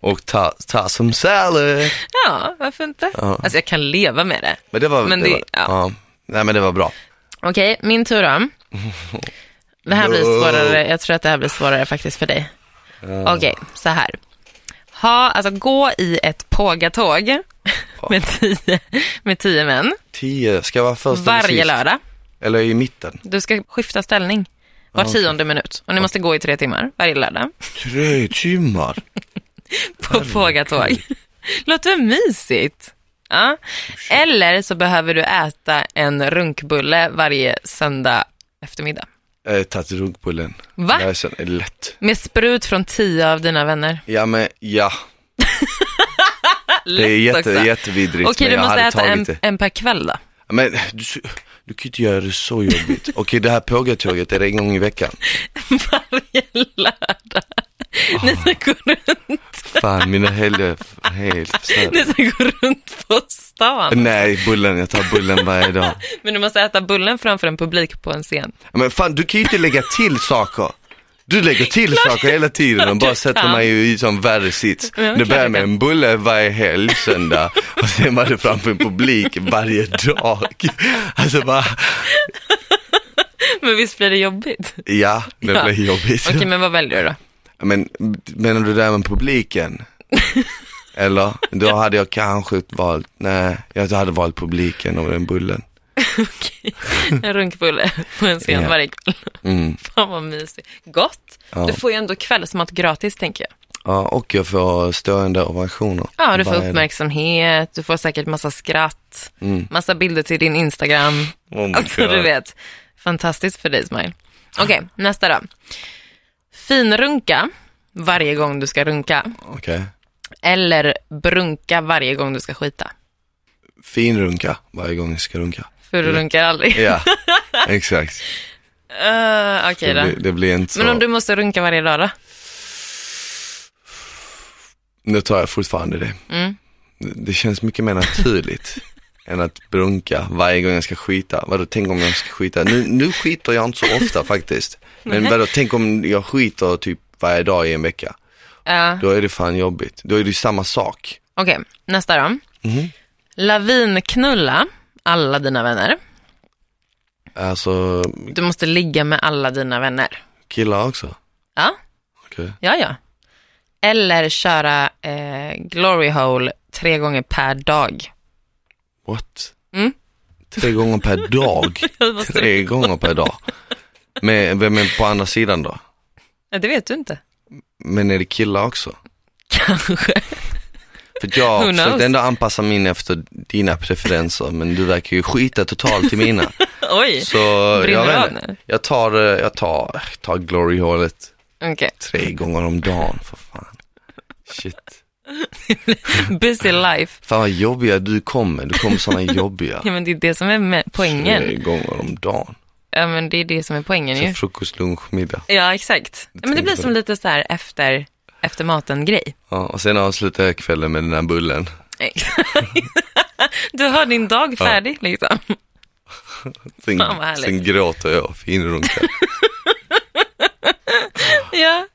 och ta, ta som salad.
Ja, varför inte? Alltså jag kan leva med det.
Men det var,
Men
det,
det-
var
ja.
ja. Nej men det var bra.
Okej, min tur då. Det här blir svårare. Jag tror att det här blir svårare faktiskt för dig. Okej, så här. Ha, alltså gå i ett pågatåg med tio, med tio män
Tio, ska jag vara först eller
varje
sist?
lördag.
Eller i mitten?
Du ska skifta ställning var tionde minut och ni måste gå i tre timmar varje lördag [LAUGHS]
Tre timmar.
på pågatåg. Låter väl mysigt? Ja. Eller så behöver du äta en runkbulle varje söndag eftermiddag.
Jag har tagit runkbullen.
Va?
Läsen är lätt.
Med sprut från tio av dina vänner.
Ja men ja. det är jätte,
också.
jättevidrigt
Okej,
men
du
jag
måste
hade
äta en,
tagit det.
en per kväll [LAUGHS] då.
Men du, du kan ju inte göra det så
[LAUGHS]
jobbigt. Okej det här pågatåget, är det en gång i veckan?
Varje lördag. Ni ska, gå runt,
Fan mina helger är helt förstörda.
ni ska gå runt på stan.
Nej bullen, jag tar bullen varje dag.
Men du måste äta bullen framför en publik på en scen.
Men fan du kan ju inte lägga till saker. Du lägger till saker hela tiden och bara
du
sätter
kan.
mig i sån värre sits.
Ja,
Det
klart
börjar
jag
med
kan.
en bulle varje helg, söndag och sen var det framför en publik varje dag. Alltså bara,
Men visst blir det jobbigt?
ja, det
Ja.
blir jobbigt.
Okej, men vad väljer du då?
Men menar du det där med publiken? Eller? Då hade jag kanske valt, nej, jag hade valt publiken och den bullen.
En runkbulle på en scen
Ja.
varje kväll.
Mm.
Fan vad mysigt. Gott. Du får ju ändå kvällsmat gratis tänker jag.
Ja, och jag får stående ovationer.
Ja, du får
Varje dag.
uppmärksamhet, du får säkert massa skratt, massa bilder till din Instagram.
Mm. Oh my
Alltså du
God.
vet, fantastiskt för dig Smile. Okej, nästa då. Finrunka varje gång du ska runka
Okej.
eller brunka varje gång du ska skita.
Finrunka varje gång jag
[LAUGHS]
ska runka.
För du runkar aldrig. [LAUGHS]
Ja, exakt.
Eh, Okej
Det blir,
då.
det blir inte så.
Men om du måste runka varje dag då?
Nu tar jag fortfarande det.
Mm.
Det- Det känns mycket
[LAUGHS]
mer naturligt än att brunka varje gång jag ska skita. Vadå, tänk om jag ska skita? Nu, nu skiter jag inte så ofta faktiskt. Men vadå, tänk om jag skiter typ varje dag i en vecka.
Ja.
Då är det fan jobbigt. Då är det ju samma sak.
Okej, nästa då. Lavinknulla alla dina vänner.
Alltså,
Du måste ligga med alla dina vänner.
killar också?
Ja,
Okej.
ja, ja. Eller köra eh, glory hole tre gånger per dag.
What?
Mm.
Tre gånger per dag? Tre gånger per dag? Men, men på andra sidan då?
Ja, Det vet du inte.
Men är det killar också?
Kanske.
För jag
Who
har försökt
knows?
ändå anpassa min efter dina preferenser men du verkar ju skita totalt i mina.
Oj.
Så
Brinner
jag
du
vet
av
inte.
nu?
Jag tar, eh, jag tar, jag tar glory hålet
Okej.
tre gånger om dagen för fan. Shit.
Busy life.
Fan vad jobbiga du kommer, du kommer sådana jobbiga.
[LAUGHS] Ja, men det är det som är med
Tre
poängen.
gånger om dagen.
Ja, men det är det som är poängen ju.
Så frukost, lunch, middag.
Ja, exakt. Ja, men det blir som lite så här efter, efter maten-grej.
Ja, och sen avslutar jag kvällen med den här bullen.
Du har din dag färdig
[LAUGHS]
liksom.
Sen,
Fan, vad härligt.
sen gråter jag och finrunkar.
Ja.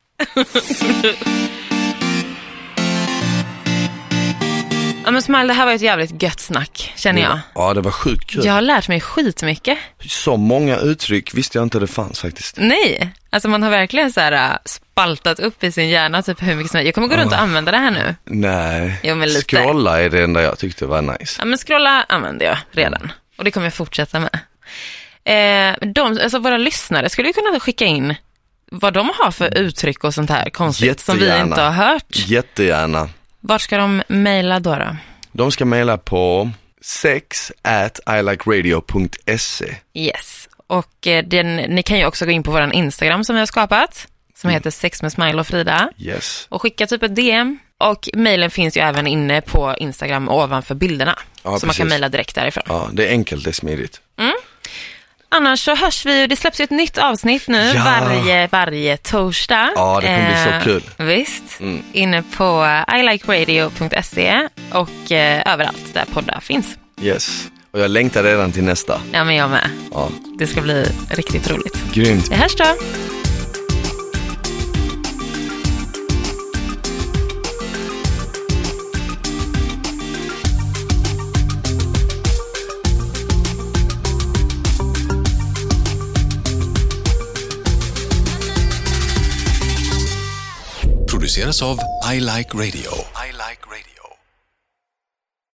ja men Smile, det här var ett jävligt gött snack känner jag.
Ja, det var sjukt kul.
Jag har lärt mig skitmycket.
Så många uttryck visste jag inte det fanns faktiskt.
Nej, alltså man har verkligen så här äh, spaltat upp i sin hjärna typ hur mycket som helst. Jag kommer gå runt och använda det här nu.
Nej,
Jo, men lite.
scrolla är det enda jag tyckte var nice.
Ja men scrolla använder jag
Mm.
redan och det kommer jag fortsätta med. Eh, de, alltså våra lyssnare skulle ju kunna skicka in vad de har för uttryck och sånt här konstigt som vi
Jättegärna.
inte har hört.
Jättegärna.
Vart ska de mejla då? då?
De ska mejla på sex at ilikeradio.se.
Yes, och eh, den, ni kan ju också gå in på vår Instagram som vi har skapat,
Mm.
som heter sex med Smile och Frida,
Yes.
och skicka typ ett DM. Och mejlen finns ju även inne på Instagram ovanför bilderna,
Ja,
så man kan
precis.
mejla direkt därifrån.
Ja, det är enkelt, det är smidigt.
Annars så hörs vi ju, det släpps ju ett nytt avsnitt nu
Ja.
varje, varje torsdag. Eh,
Ja, det kommer bli så kul. Mm.
Visst, inne på eh, ilikeradio.se och eh, överallt där poddar finns.
Yes. Och jag längtar redan till nästa.
Ja, men jag med.
Ja,
Det ska bli riktigt roligt.
grymt.
Vi hörs då.
produceras av I Like Radio.